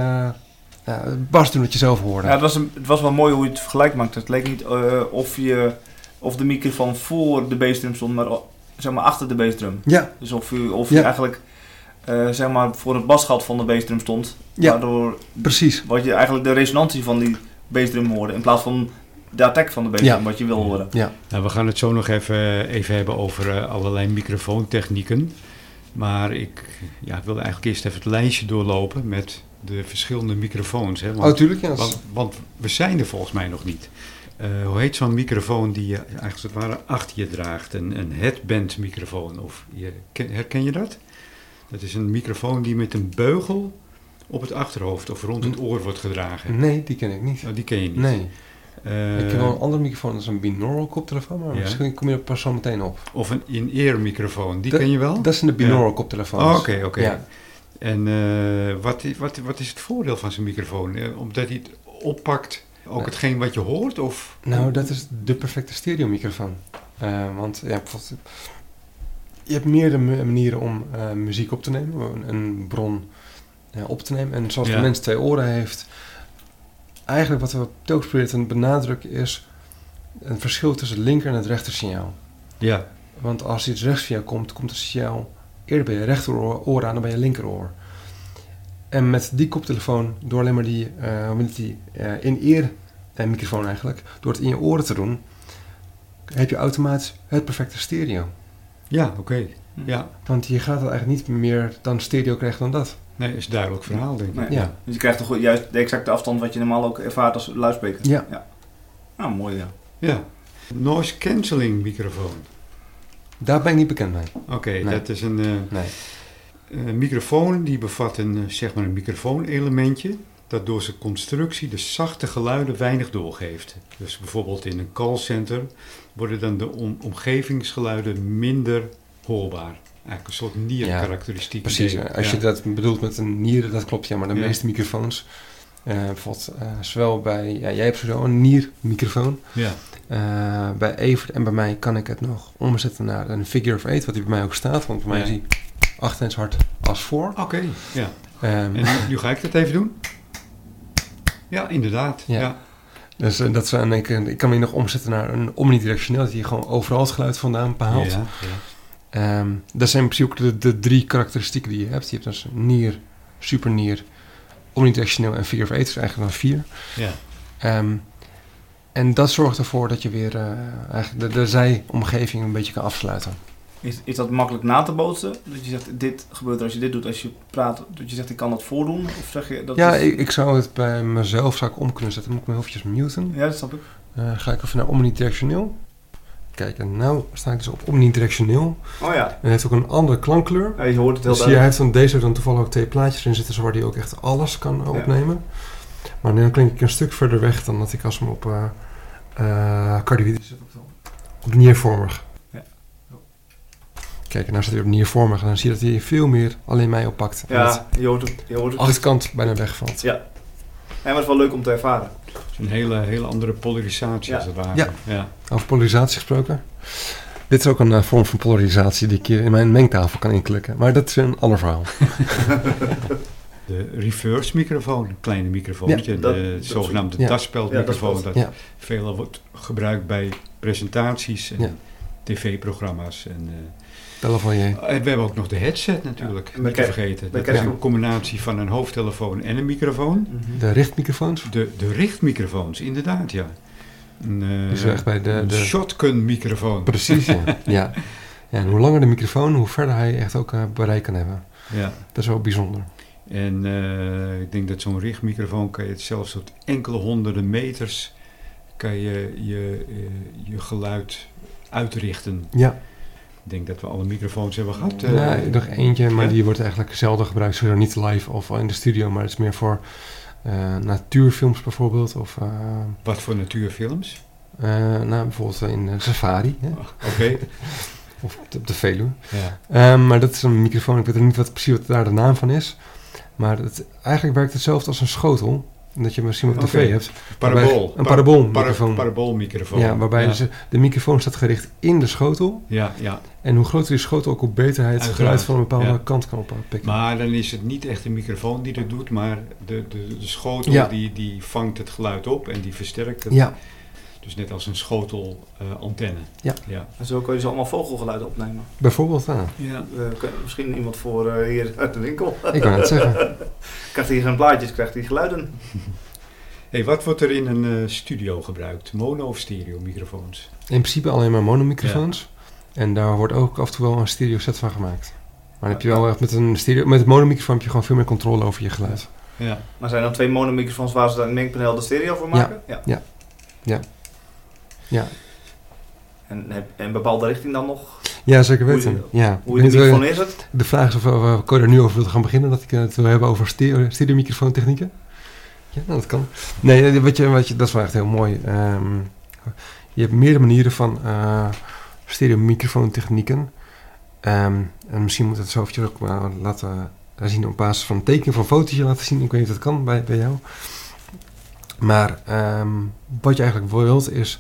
ja, barst toen wat je zelf hoorde.
Ja, het, was een- het was wel mooi hoe je het vergelijk maakt. Het leek niet eh, of, je, of de microfoon voor de bassdrum stond, maar al- zeg maar achter de bassdrum.
ja,
Dus of je, of
Ja.
je eigenlijk eh, zeg maar voor het basgat van de bassdrum stond,
Ja.
waardoor
precies.
wat je eigenlijk de resonantie van die bassdrum hoorde, in plaats van de attack van de bassdrum,
Ja.
wat je wil horen.
Nou, we gaan het zo nog even, even hebben over eh, allerlei microfoontechnieken. Maar ik ja, ik wilde eigenlijk eerst even het lijstje doorlopen met de verschillende microfoons. Hè?
Oh,
Want,
tuurlijk, ja. dat is-
want, want we zijn er volgens mij nog niet. Eh, hoe heet zo'n microfoon die je eigenlijk als het ware achter je draagt? Een, een headband microfoon. Of je, ken- herken je dat? Dat is een microfoon die met een beugel op het achterhoofd of rond het oor wordt gedragen.
Nee, die ken ik niet.
Nou, die ken je niet.
Hm. Nee,
Eh,
ik heb wel een andere microfoon, dat is een binaural koptelefoon, maar
Ja.
misschien kom je er pas zo meteen op.
Of een in-ear microfoon, die
Dat-
ken je wel?
Dat zijn de binaural koptelefoons.
Oh, Oké, oké.
Ja.
En eh, wat, i- wat, wat is het voordeel van zo'n microfoon? Eh, Omdat hij het oppakt, ook
Ja.
hetgeen wat je hoort? Of?
Nou, dat is de perfecte stereomicrofoon. Eh, want ja, bijvoorbeeld, je hebt meerdere mu- manieren om eh, muziek op te nemen, een, een bron eh, op te nemen. En zoals
Ja.
de mens twee oren heeft, eigenlijk wat we telkens proberen te benadrukken is een verschil tussen het linker en het rechter signaal.
Ja,
Want als iets rechts via komt, komt het signaal eerder bij je rechteroor aan dan bij je linkeroor. En met die koptelefoon, door alleen maar die, eh, met die eh, in-ear eh, microfoon eigenlijk, door het in je oren te doen, heb je automatisch het perfecte stereo.
ja oké. Ja,
Want je gaat het eigenlijk niet meer dan stereo krijgen dan dat.
nee, is een duidelijk verhaal, denk ik.
Nee.
Ja.
Dus je krijgt toch juist de exacte afstand wat je normaal ook ervaart als luidspreker.
Ja.
Nou, mooi ja.
Ja. Noise cancelling microfoon.
Daar ben ik niet bekend mee.
Oké,
Nee.
dat is een eh,
Nee.
een microfoon die bevat een, eh, zeg maar een microfoonelementje dat door zijn constructie de zachte geluiden weinig doorgeeft. Dus bijvoorbeeld in een callcenter worden dan de om- omgevingsgeluiden minder hoorbaar. Eigenlijk een soort nierkarakteristiek.
Precies,
idee.
eh, als
Ja.
je dat bedoelt met een nier, dat klopt ja, maar de
Ja.
meeste microfoons, eh, bijvoorbeeld eh, zowel bij, ja, jij hebt sowieso een niermicrofoon,
Ja.
Eh, bij Evert en bij mij kan ik het nog omzetten naar een figure of eight, wat die bij mij ook staat. Want bij mij
Ja.
is die achter eens hard als voor.
Oké, ja.
Ehm,
En nu- nu ga ik dat even doen. Ja, inderdaad. Ja.
Ja. dus eh, dat zijn, ik, ik kan hem nog omzetten naar een omnidirectioneel, dat je gewoon overal het geluid vandaan behaalt.
Ja, ja.
Ehm, dat zijn in principe ook de, de drie karakteristieken die je hebt. Je hebt dus nier, supernier, omnidirectioneel en figure of eight, dus eigenlijk dan vier.
Ja.
Ehm, en dat zorgt ervoor dat je weer eh, eigenlijk de, de zijomgeving een beetje kan afsluiten.
Is, is dat makkelijk na te bootsen? Dat je zegt, dit gebeurt er als je dit doet, als je praat. Dat je zegt, ik kan dat voordoen? Of zeg je, dat
ja,
is-
ik, ik zou het bij mezelf zou ik om kunnen zetten. Moet ik me heel eventjes muten.
Ja, dat snap ik.
Eh, ga ik even naar omnidirectioneel. Kijk, en nou sta ik dus op omnidirectioneel.
Oh ja.
En hij heeft ook een andere klankkleur.
ja je hoort het heel
Dus hier
duidelijk.
heeft dan, deze heeft dan toevallig ook twee plaatjes in zitten... waar die ook echt alles kan eh,
Ja.
opnemen. Maar nu klink ik een stuk verder weg dan dat ik als hem op eh eh, cardioïde zit. Op, de- op niervormig.
Ja.
Kijk, en nou staat hij op niervormig. En dan zie je dat hij veel meer alleen mij oppakt. En dat
Ja, je hoort het. Je hoort
de
het.
achterkant bijna wegvalt.
Ja. Ja, maar het is wel leuk om te ervaren.
Het is een hele, hele andere polarisatie
Ja.
als het ware.
Ja.
ja.
Over polarisatie gesproken. Dit is ook een eh, vorm van polarisatie die ik hier in mijn mengtafel kan inklikken. Maar dat is een ander verhaal.
De reverse microfoon, een kleine microfoontje,
Ja, dat-
de
dat-
zogenaamde
ja.
daspeldmicrofoon, dat
Ja,
dasspeld, ja.
veelal wordt gebruikt bij presentaties en
Ja.
tv-programma's. En, eh,
Bellen van je.
en we hebben ook nog de headset natuurlijk,
Ja, en
niet te
bekijk-
vergeten. Dat
bekijk-
is een combinatie van een hoofdtelefoon en een microfoon.
Mhm.
De richtmicrofoons.
De, de richtmicrofoons, inderdaad, ja. Een, eh,
Dus echt bij de...
een
de...
shotgun microfoon.
Precies, ja. ja. En hoe langer de microfoon, hoe verder hij echt ook eh, bereik kan hebben.
Ja.
Dat is wel bijzonder.
En eh, ik denk dat zo'n richtmicrofoon kan je het zelfs tot enkele honderden meters kan je, je, eh, je geluid uitrichten.
Ja,
Ik denk dat we alle microfoons hebben gehad. eh.
ja nog eentje, maar
ja.
die wordt eigenlijk zelden gebruikt. Sowieso niet live of in de studio, maar het is meer voor eh, natuurfilms bijvoorbeeld. Of eh,
Wat voor natuurfilms?
eh, nou, bijvoorbeeld in eh, Safari, hè?
Oké.
of op de- op de Veluwe.
Ja.
Ehm, maar dat is een microfoon, ik weet ook niet wat, precies wat daar de naam van is. Maar het, eigenlijk werkt hetzelfde als een schotel. dat je misschien wat tv
Oké.
hebt.
Parabool.
Waarbij- een paraboolmicrofoon.
Para- Paraboolmicrofoon.
Ja, waarbij
ja.
dus, eh, de microfoon staat gericht in de schotel.
Ja, ja.
En hoe groter die schotel, ook hoe beter hij het
Uiteraard,
geluid van een bepaalde
ja.
kant kan oppikken.
Maar dan is het niet echt de microfoon die dat doet, maar de, de, de schotel
Ja.
die, die vangt het geluid op en die versterkt het.
ja,
Dus net als een schotelantenne. antenne.
Ja.
ja.
En zo kun je ze allemaal vogelgeluiden opnemen.
bijvoorbeeld. ah,
Ja.
We kunnen- misschien iemand voor eh, hier uit de winkel.
ik wou net zeggen.
Krijgt hij geen blaadjes, krijgt hij geluiden.
Hey, wat wordt er in een eh, studio gebruikt? Mono of stereo microfoons?
In principe alleen maar monomicrofoons. En daar wordt ook af en toe wel een stereo set van gemaakt. Maar dan heb je wel echt met een stereo, met een monomicrofoon heb je gewoon veel meer controle over je geluid.
Ja.
Maar zijn er dan twee monomicrofoons waar ze dan een mengpaneel de stereo voor
Ja.
maken? Ja.
Ja,
En heb- en bepaalde richting dan nog?
ja zeker
Hoe je-
weten. ja.
Hoe je
Ik
de
weet wel-
microfoon inzet?
De vraag is of we Cor er nu over wilt gaan beginnen, dat ik eh, het wil hebben over stereo, stereomicrofoontechnieken. Ja, nou, dat kan. Nee, eh, wat je, wat je, dat is wel echt heel mooi. Ehm, je hebt meerdere manieren van eh stereomicrofoontechnieken. Ehm, en misschien moet ik het zo eventjes ook maar laten zien op basis van een tekening van een fotootje laten zien. Ik weet niet of dat kan bij, bij jou. Maar ehm, wat je eigenlijk wilt is,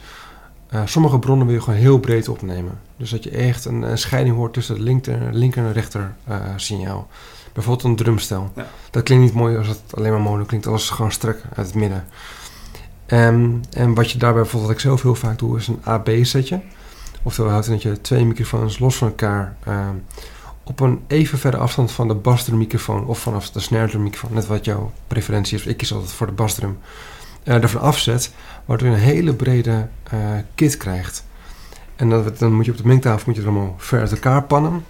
eh, sommige bronnen wil je gewoon heel breed opnemen. Dus dat je echt een, een scheiding hoort tussen het linker, linker en rechter eh, signaal. Bijvoorbeeld een drumstel.
Ja.
Dat klinkt niet mooi als het alleen maar mono klinkt, als het gewoon strak uit het midden. Ehm, en wat je daarbij bijvoorbeeld, wat ik zelf heel vaak doe, is een AB-setje. Oftewel houdt in dat je twee microfoons los van elkaar ehm, op een even verre afstand van de basdrummicrofoon of vanaf de snaredrummicrofoon, net wat jouw preferentie is. Ik kies altijd voor de basdrum. eh daarvan afzet, waardoor je een hele brede eh, kit krijgt. En dan, dan moet je op de mengtafel moet je het allemaal ver uit elkaar pannen.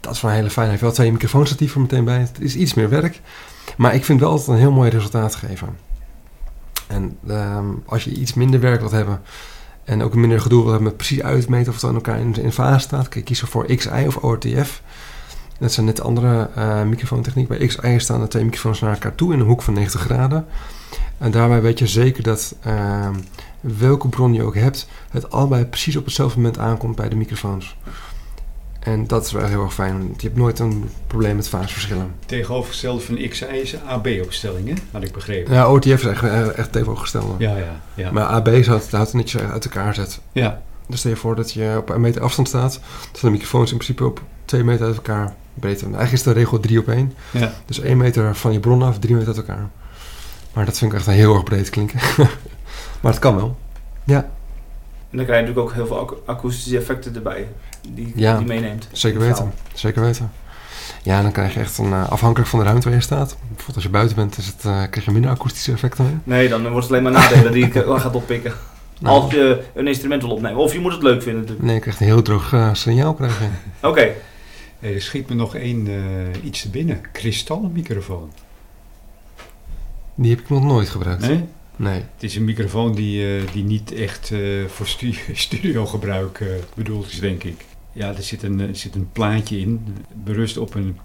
Dat is wel heel fijn. Hij heeft wel twee microfoonstatieven meteen bij. Het is iets meer werk. Maar ik vind wel altijd een heel mooi resultaat geven. En ehm, als je iets minder werk wilt hebben en ook minder gedoe wilt hebben met precies uitmeten of het aan elkaar in, in fase staat, kun je kiezen voor XI of ORTF. Dat zijn net andere eh microfoontechniek. Bij XI staan de twee microfoons naar elkaar toe in een hoek van 90 graden. En daarbij weet je zeker dat ehm, welke bron je ook hebt, het allebei precies op hetzelfde moment aankomt bij de microfoons. En dat is wel heel erg fijn. want Je hebt nooit een probleem met faseverschillen.
Tegenovergestelde van XI is een AB-opstelling, hè? had ik begrepen.
Ja, OTF is echt, eh, echt tegenovergestelde.
Ja, ja, ja.
Maar AB houdt, houdt het niet zo uit elkaar zet.
Ja.
Dus stel je voor dat je op een meter afstand staat. Dan staan de microfoons in principe op twee meter uit elkaar breed. Eigenlijk is de regel drie op één.
Ja.
Dus één meter van je bron af, drie meter uit elkaar. Maar dat vind ik echt een heel erg breed klinken. maar het kan wel.
En dan krijg je natuurlijk ook heel veel ako- akoestische effecten erbij. Die,
Ja.
die meeneemt. Nou,
Zeker weten. Zeker weten. Ja, dan krijg je echt een, eh, afhankelijk van de ruimte waar je staat. Bijvoorbeeld als je buiten bent, is het, eh, krijg je minder akoestische effecten mee.
Nee, dan wordt het alleen maar nadelen die je dan gaat oppikken.
Nou,
Als je een instrument wil opnemen. Of je moet het leuk vinden natuurlijk.
Nee, je krijgt een heel droog eh, signaal krijg je.
Oké.
Hey, er schiet me nog één eh, iets te binnen. Kristalmicrofoon.
Die heb ik nog nooit gebruikt.
Nee?
nee.
Het is een microfoon die, eh, die niet echt eh, voor stu studiogebruik eh, bedoeld is, denk ik. Ja, er zit een, eh, zit een plaatje in, berust op een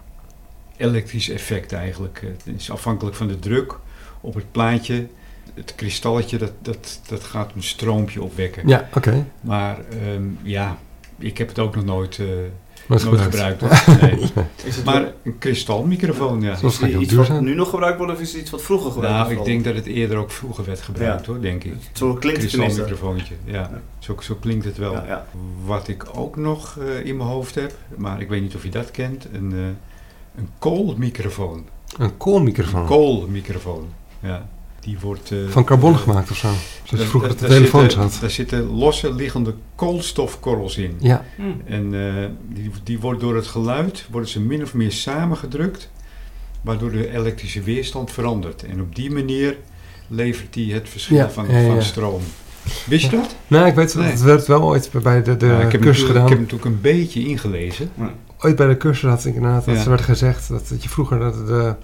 elektrisch effect eigenlijk. Eh, Het is afhankelijk van de druk op het plaatje. Het kristalletje, dat, dat, dat gaat een stroompje opwekken.
Ja, oké.
Maar ehm, ja, ik heb het ook nog nooit, eh,
Nooit
nooit
gebruikt.
gebruikt. hoor. Nee.
Is het
Maar een kristalmicrofoon, ja.
Zoals-
is het
heel
iets
duur
wat
zijn.
nu nog gebruikt wordt of is het iets wat vroeger gebruikt
Nou,
wordt?
ik denk dat het eerder ook vroeger werd gebruikt, hoor, denk ik.
Zo klinkt het tenminste.
kristalmicrofoontje, ja.
Ja.
Zo, zo klinkt het wel.
Ja, ja.
Wat ik ook nog eh, in mijn hoofd heb, maar ik weet niet of je dat kent, een, eh een koolmicrofoon.
Een koolmicrofoon.
Een koolmicrofoon, ja. Die wordt... eh,
Van carbon
eh,
gemaakt of zo. Zoals je
daar-
vroeger
daar-
op de
daar
telefoons
zitten-
had.
Daar zitten losse liggende koolstofkorrels in.
Ja,
Hm.
En eh, die, die wordt door het geluid worden ze min of meer samengedrukt, waardoor de elektrische weerstand verandert. En op die manier levert die het verschil
Ja,
van,
ja, ja.
van stroom. Wist je dat?
nou ik weet dat
Nee.
het werd wel ooit bij de, de
Ja, ik, heb hem
cursus
natuurlijk- ik
gedaan.
heb hem natuurlijk een beetje ingelezen.
Ooit bij de cursus had ik inderdaad dat
Ja.
er werd gezegd dat, dat je vroeger dat de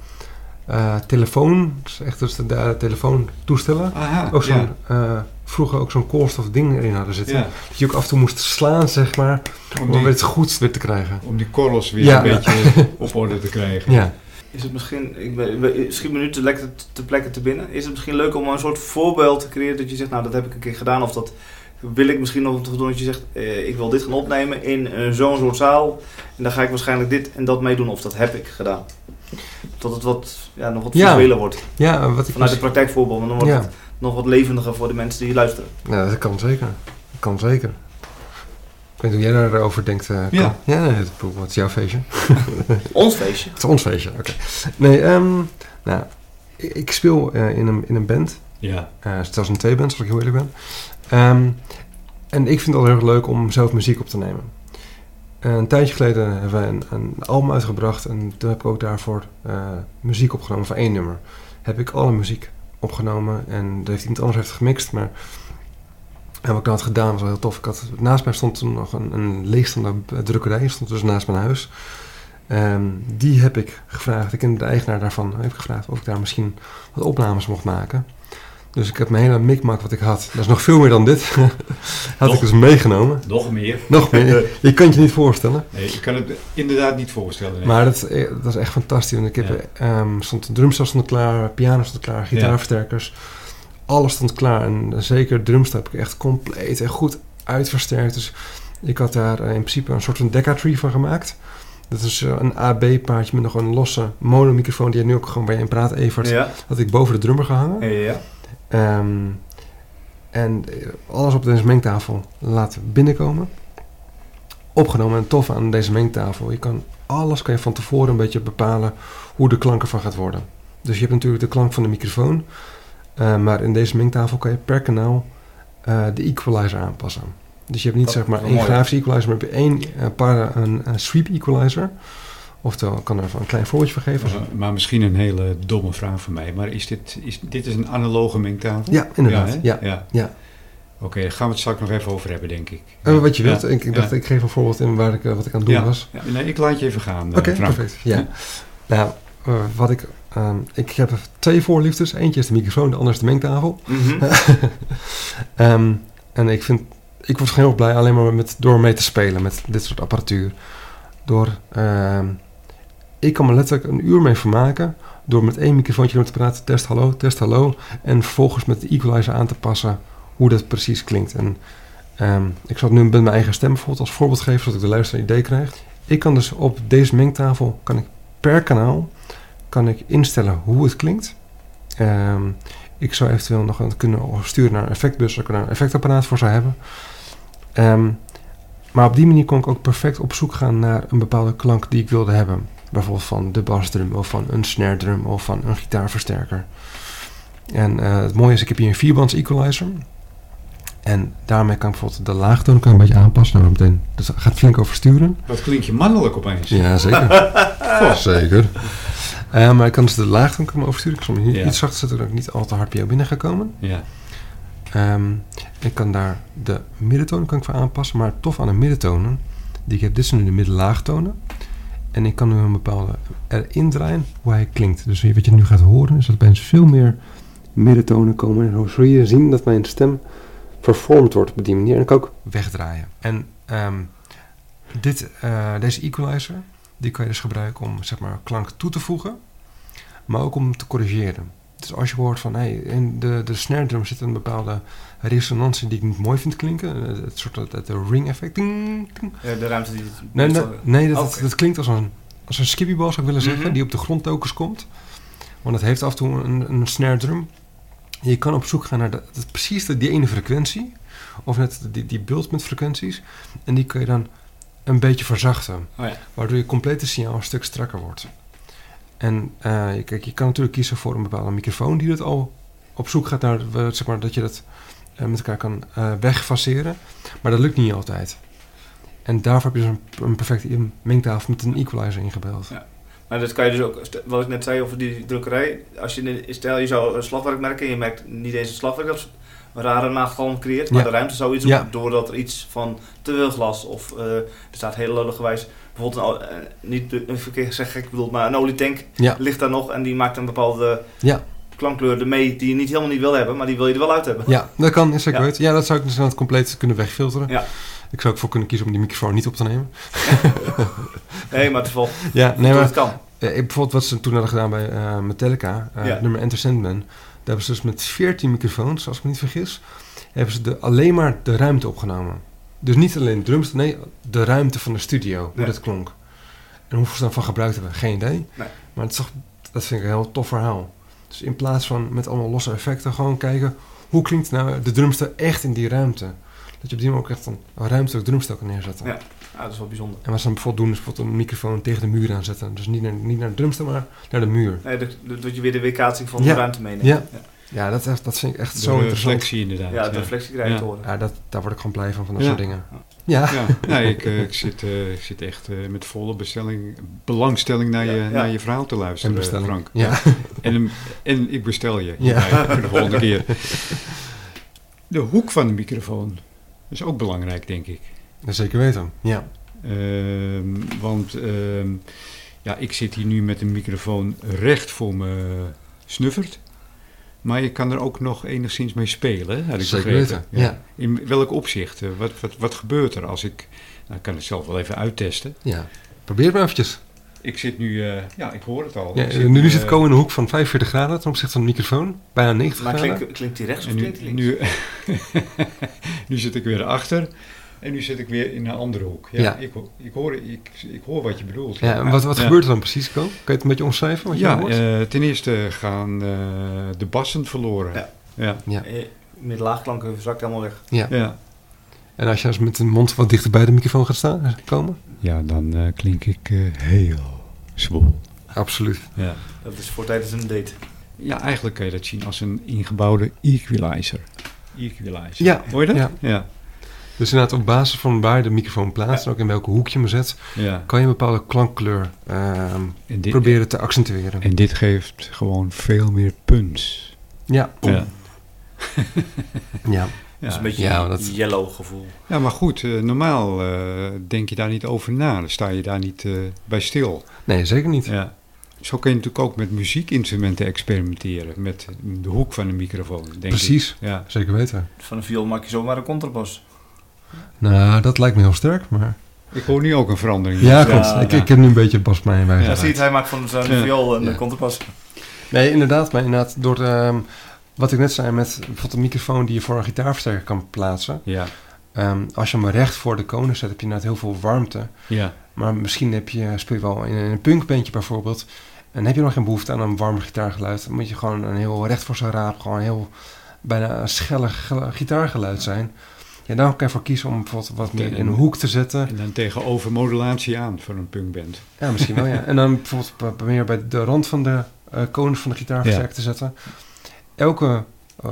eh, telefoon, dus echt dus de, de telefoontoestellen,
Aha,
ook zo'n,
ja.
eh, vroeger ook zo'n koolstofding erin hadden zitten.
ja.
Dat je ook af en toe moest slaan, zeg maar,
Om
om
die,
weer het goed weer te krijgen.
om die korrels weer
Ja.
een beetje op orde te krijgen.
Ja,
Is het misschien, ik ben- we- schiet me nu te, lekker te plekken te binnen. Is het misschien leuk om een soort voorbeeld te creëren dat je zegt, nou dat heb ik een keer gedaan of dat wil ik misschien nog doen. Dat je zegt, eh, ik wil dit gaan opnemen in eh, zo'n soort zaal en dan ga ik waarschijnlijk dit en dat mee doen of dat heb ik gedaan. Tot het wat, ja, nog wat
Ja.
visueler wordt.
Ja, wat ik dus-
Vanuit het
mis-
praktijkvoorbeeld. Want dan wordt
ja.
het nog wat levendiger voor de mensen die luisteren.
ja, dat kan zeker. Dat kan zeker. Ik weet niet hoe jij daarover denkt. eh,
Ja.
Cor. Ja, nee, het, het is jouw feestje.
Ons feestje.
Het is ons feestje, oké. Nee, ehm, nou, ik, ik speel eh, in, een, in een band.
Ja.
Eh, zelfs een tweeband, als ik heel eerlijk ben. Ehm, en ik vind het altijd heel erg leuk om zelf muziek op te nemen. Eh, een tijdje geleden hebben wij een, een album uitgebracht en toen heb ik ook daarvoor eh, muziek opgenomen van één nummer. Heb ik alle muziek opgenomen en dat heeft iemand anders heeft gemixt, maar en wat ik dan had gedaan was wel heel tof. Ik had, naast mij stond toen nog een, een leegstaande b- drukkerij, stond dus naast mijn huis. Ehm, die heb ik gevraagd, ik ken de eigenaar daarvan, heb ik gevraagd of ik daar misschien wat opnames mocht maken. Dus ik heb mijn hele mikmak wat ik had, dat is nog veel meer dan dit, had
Nog?
ik dus meegenomen.
Nog meer.
Nog meer, je kunt je niet voorstellen.
Nee, ik kan het inderdaad niet voorstellen. nee.
Maar dat, eh, dat is echt fantastisch. Want ik heb, ehm, stond de drumstel stond klaar, piano stond klaar, gitaarversterkers. Alles stond klaar. En zeker de drumstel heb ik echt compleet en goed uitversterkt. Dus ik had daar eh, in principe een soort van decatree van gemaakt. Dat is eh, een AB-paardje met nog een losse monomicrofoon... die je nu ook gewoon bij je in praat, Evert.
Ja.
Had ik boven de drummer gehangen.
ja.
Ehm, en eh, alles op deze mengtafel laten binnenkomen. Opgenomen en tof aan deze mengtafel. Je kan alles kan je van tevoren een beetje bepalen hoe de klank ervan gaat worden. Dus je hebt natuurlijk de klank van de microfoon. eh, maar in deze mengtafel kan je per kanaal eh, de equalizer aanpassen. Dus je hebt niet
Dat
zeg
is
maar
wel
één
mooi.
grafische equalizer, maar heb je één eh, para, een, een sweep equalizer. Oftewel, ik kan er even een klein voorbeeldje van geven.
Maar- maar misschien een hele domme vraag van mij. Maar is dit, is, dit is een analoge mengtafel?
Ja, inderdaad.
hè?
ja.
ja.
ja.
Oké, daar gaan we het straks nog even over hebben, denk ik.
Eh, wat je
Ja,
wilt. Ik, ik dacht,
ja.
ik geef een voorbeeld in waar ik, eh, wat ik aan het doen
Ja.
was.
Ja, nee, ik laat je even gaan, eh,
Oké,
Frank.
perfect. Ja. Nou, eh, wat ik, ehm, ik heb twee voorliefdes. Eentje is de microfoon, de andere is de mengtafel.
Mhm.
Ehm, en ik vind, ik word heel erg blij alleen maar met, door mee te spelen met dit soort apparatuur. Door, ehm, ik kan me letterlijk een uur mee vermaken door met één microfoontje door te praten, test hallo, test hallo. En vervolgens met de equalizer aan te passen hoe dat precies klinkt. En ehm, ik zal het nu met mijn eigen stem bijvoorbeeld als voorbeeld geven, zodat ik de luisteraar een idee krijg. Ik kan dus op deze mengtafel, kan ik per kanaal, kan ik instellen hoe het klinkt. Ehm, ik zou eventueel nog een- kunnen sturen naar een effectbus, als ik er een effectapparaat voor zou hebben. Ehm, maar op die manier kon ik ook perfect op zoek gaan naar een bepaalde klank die ik wilde hebben. Bijvoorbeeld van de basdrum, of van een snare drum, of van een gitaarversterker. En eh, het mooie is, ik heb hier een vierbands equalizer. En daarmee kan ik bijvoorbeeld de laagtoon kan ik een beetje aanpassen. Nou, meteen, dus dat gaat flink oversturen.
Wat klinkt je mannelijk opeens?
Ja, zeker. zeker. Eh, maar ik kan dus de laagtoon kan ik oversturen. Ik zal hem hier
Ja.
iets zachter zetten, zodat ik niet al te hard bij jou binnen ga komen.
Ja.
Ehm, ik kan daar de middentonen kan ik voor aanpassen. Maar tof aan de middentonen, die ik heb, dit zijn nu de middenlaagtonen. En ik kan nu een bepaalde erin draaien hoe hij klinkt. Dus wat je nu gaat horen is dat er opeens veel meer middentonen komen. En zo zul je zien dat mijn stem vervormd wordt op die manier. En ik kan ook wegdraaien. En ehm, dit, eh, deze equalizer, die kan je dus gebruiken om zeg maar, klank toe te voegen. Maar ook om te corrigeren. Dus als je hoort van, hey, in de, de snare drum zit een bepaalde resonantie die ik niet mooi vind klinken. eh, Het soort dat, dat de ring effect. Ding, ding.
Ja, de ruimte die...
Nee, nee, nee, dat,
Oké.
dat klinkt als een, als een skippybal, zou ik willen zeggen,
Mhm.
die op de grond telkens komt. Want het heeft af en toe een, een snare drum. Je kan op zoek gaan naar de, dat- precies de- die ene frequentie. Of net die, die bult met frequenties. En die kun je dan een beetje verzachten.
Oh ja.
Waardoor je complete signaal een stuk strakker wordt. En eh, je- kijk, je kan natuurlijk kiezen voor een bepaalde microfoon die dat al op zoek gaat naar, eh, zeg maar, dat je dat eh, met elkaar kan eh, wegfaceren. Maar dat lukt niet altijd. En daarvoor heb je dus een, een perfecte in- mengtafel met een equalizer ingebeld.
Ja. Maar dat kan je dus ook, st- wat ik net zei over die drukkerij. Als je, in de- stel je zou een slagwerk merken en je merkt niet eens een slagwerk dat is een rare nachtgalm creëert, maar
Ja.
de ruimte zou iets
Ja.
doen doordat er iets van te veel glas of eh, er staat heel lulligerwijs bijvoorbeeld een, ol- eh, niet de- een verkeer zeg ik bedoel, maar een olietank
Ja.
ligt daar nog en die maakt een bepaalde
Ja.
klankkleur ermee die je niet helemaal niet wil hebben, maar die wil je er wel uit hebben.
Ja, dat kan, is zeker
Ja.
weten. Ja, dat zou ik dus aan het compleet kunnen wegfilteren.
Ja.
Ik zou ook voor kunnen kiezen om die microfoon niet op te nemen.
Nee, maar het is wel
Ja, nee, maar
het kan.
eh, ik- bijvoorbeeld wat ze toen hadden gedaan bij eh, Metallica, eh,
Ja.
het nummer Enter Sandman. Daar hebben ze dus met 14 microfoons, als ik me niet vergis, hebben ze de, alleen maar de ruimte opgenomen. Dus niet alleen drums, nee, de ruimte van de studio, hoe
Ja.
dat klonk. En hoeveel ze daarvan gebruikt hebben, geen idee.
Nee.
Maar het is toch- dat vind ik een heel tof verhaal. Dus in plaats van met allemaal losse effecten, gewoon kijken hoe klinkt nou de drumstel echt in die ruimte. Dat je op die manier ook echt een, een ruimtelijk drumstel kan neerzetten.
Ja. Ah, dat is wel bijzonder.
En wat ze dan bijvoorbeeld doen, is bijvoorbeeld een microfoon tegen de muur aanzetten. Dus niet naar, niet naar de drumstel, maar naar de muur.
Nee, dat, dat- dat je weer de weerkaatsing van
Ja.
de ruimte meeneemt.
Ja. Ja, dat, is echt, dat vind ik echt
De
zo interessant.
reflectie inderdaad.
ja de reflectie krijg je
Ja.
te horen.
Ja, dat, daar word ik gewoon blij van, van dat
Ja.
soort dingen.
Ja.
Ja.
Ja, nou, ik, eh, ik, zit, eh, ik zit echt eh, met volle bestelling, belangstelling naar,
Ja,
je,
ja.
naar je verhaal te
En
luisteren,
bestelling.
Dus, eh, Frank.
Ja.
En, hem- en ik bestel je
Ja.
hierbij voor de volgende keer. De hoek van de microfoon is ook belangrijk, denk ik.
Dat zeker weten. Ja.
Ehm, want ehm, ja, ik zit hier nu met een microfoon recht voor me snuffert. Maar je kan er ook nog enigszins mee spelen, hè, had ik
zeker
begrepen.
weten. Ja.
In welk opzicht? Eh, Wat, wat, wat gebeurt er als ik... Nou, ik kan het zelf wel even uittesten.
ja. Probeer het maar eventjes.
Ik zit nu... eh, ja, ik hoor het al.
Ja,
Ik
nu zit
eh,
het komen in de hoek van 45 graden ten opzichte van de microfoon. Bijna 90
Maar
graden.
klinkt, klinkt die rechts of
En nu,
klinkt die links?
nu, nu zit ik weer achter. En nu zit ik weer in een andere hoek. Ja,
Ja.
Ik, ho- ik, hoor, ik, ik hoor wat je bedoelt.
Ja, en wat, wat
Ja.
gebeurt er dan precies, Ko? Kan je het een beetje omschrijven? Wat je
Ja,
hoort?
eh, ten eerste gaan eh, de bassen verloren.
Ja.
Ja.
Eh, Met laagklanken verzakt helemaal weg.
Ja.
En als je dus met de mond wat dichter bij de microfoon gaat staan, komen?
ja, dan eh, klink ik eh, heel zwoel.
Absoluut.
Ja.
Dat is voor tijdens een date.
ja, eigenlijk kan je dat zien als een ingebouwde equalizer. Equalizer.
Ja.
Hoor je dat?
Ja.
Ja.
Dus inderdaad, op basis van waar de microfoon plaatst en ook in welke hoek je hem zet,
ja.
kan je een bepaalde klankkleur ehm,
En, dit,
proberen te accentueren.
en dit geeft gewoon veel meer punts.
Ja,
Ja.
ja.
Dat is
Ja.
een beetje
Ja,
een
dat-
yellow gevoel.
Ja, maar goed, eh, normaal eh, denk je daar niet over na. Dan sta je daar niet eh, bij stil.
Nee, zeker niet.
Ja. Zo kun je natuurlijk ook met muziekinstrumenten experimenteren. Met de hoek van de microfoon, denk ik.
Precies.
Ja.
Zeker weten.
Van een viool maak je zomaar een contrabas.
Nou, dat lijkt me heel sterk, maar...
Ik hoor nu ook een verandering.
Ja,
klopt.
klopt.
Ja,
ik,
ja.
ik heb nu een beetje Bas mij bij.
Ja,
Ja,
Right.
zie je het, hij maakt van zijn
Ja.
viool een
Ja.
contrabas.
Nee, inderdaad. Maar inderdaad, door ehm, wat ik net zei met bijvoorbeeld een microfoon die je voor een gitaarversterker kan plaatsen.
Ja,
ehm, als je hem recht voor de konen zet, heb je inderdaad heel veel warmte.
ja,
Maar misschien heb je, speel je wel in een punkbandje bijvoorbeeld. En heb je nog geen behoefte aan een warm gitaargeluid. Dan moet je gewoon een heel recht voor zijn raap, gewoon een heel bijna schellig gel- gitaargeluid zijn. Ja, daar kan je voor kiezen om bijvoorbeeld wat meer in een hoek te zetten.
En dan tegenover modulatie aan voor een punkband.
Ja, misschien wel, ja. En dan bijvoorbeeld p- meer bij de rand van de eh konen van de gitaarversterker te zetten. Elke eh,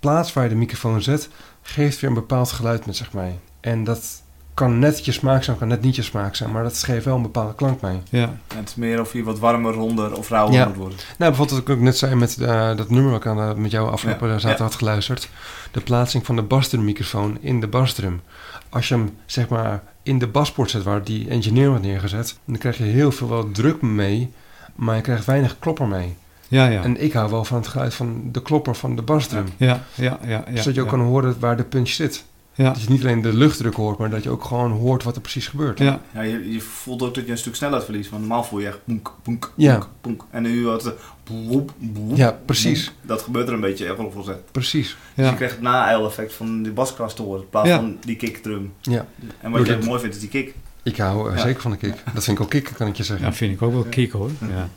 plaats waar je de microfoon zet, geeft weer een bepaald geluid met zich mee. En dat kan net je smaak zijn, kan net niet je smaak zijn. Maar dat geeft wel een bepaalde klank mee.
Ja,
En het is meer of hij wat warmer, ronder of rauwer
Ja.
moet worden.
Nou, bijvoorbeeld wat ik ook net zei met eh, dat nummer wat ik aan, de- met jou afgelopen eh,
Ja,
zaterdag
ja.
had geluisterd. De plaatsing van de basdrummicrofoon in de basdrum. Als je hem zeg maar in de baspoort zet waar die engineer had neergezet, dan krijg je heel veel wel druk mee, maar je krijgt weinig klopper mee.
ja, ja.
En ik hou wel van het geluid van de klopper van de basdrum.
ja, ja, ja, ja
zodat je ook
ja.
kan horen waar de punch zit.
Ja,
Dat je niet alleen de luchtdruk hoort, maar dat je ook gewoon hoort wat er precies gebeurt.
ja,
Ja, je, je voelt ook dat je een stuk snelheid verliest. Want normaal voel je echt boenk, boenk,
Ja.
boenk, boenk. En nu had het boep, boep,
Ja, precies.
boep. Dat gebeurt er een beetje, echt wel volgens mij.
Preast.
Dus je
ja.
krijgt het na-eil-effect van die baskras te horen. In plaats
Ja.
van die kickdrum.
Ja.
En
Doe
wat je
dit.
mooi vindt, is die kick.
Ik hou eh,
Ja.
zeker van de kick. Dat vind ik ook kicken, kan ik je zeggen.
Ja, vind ik ook wel kick hoor. Ja.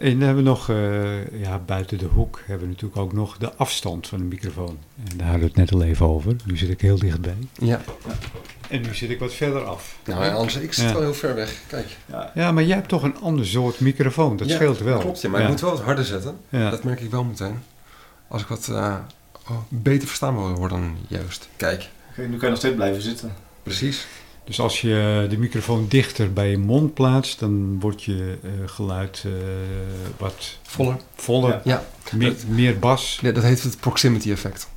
En dan hebben we nog, eh, ja, buiten de hoek hebben we natuurlijk ook nog de afstand van de microfoon. En daar hadden we het net al even over. Nu zit ik heel dichtbij.
Ja.
En nu zit ik wat verder af.
Nou, ja, anders, ik zit
Ja.
wel heel ver weg. Kijk.
Ja.
Ja, maar jij hebt toch een ander soort microfoon. Dat
Ja,
scheelt wel.
Klopt, ja, maar
ja.
ik moet wel wat harder zetten.
Ja.
Dat merk ik wel meteen. Als ik wat eh, oh, beter verstaanbaar word dan juist. Kijk,
Oké, nu kan je nog steeds blijven zitten.
precies.
Dus als je de microfoon dichter bij je mond plaatst, dan wordt je eh, geluid eh, wat
Voller.
voller,
Ja.
Ja,
meer, meer bas.
Ja, dat heet het proximity effect.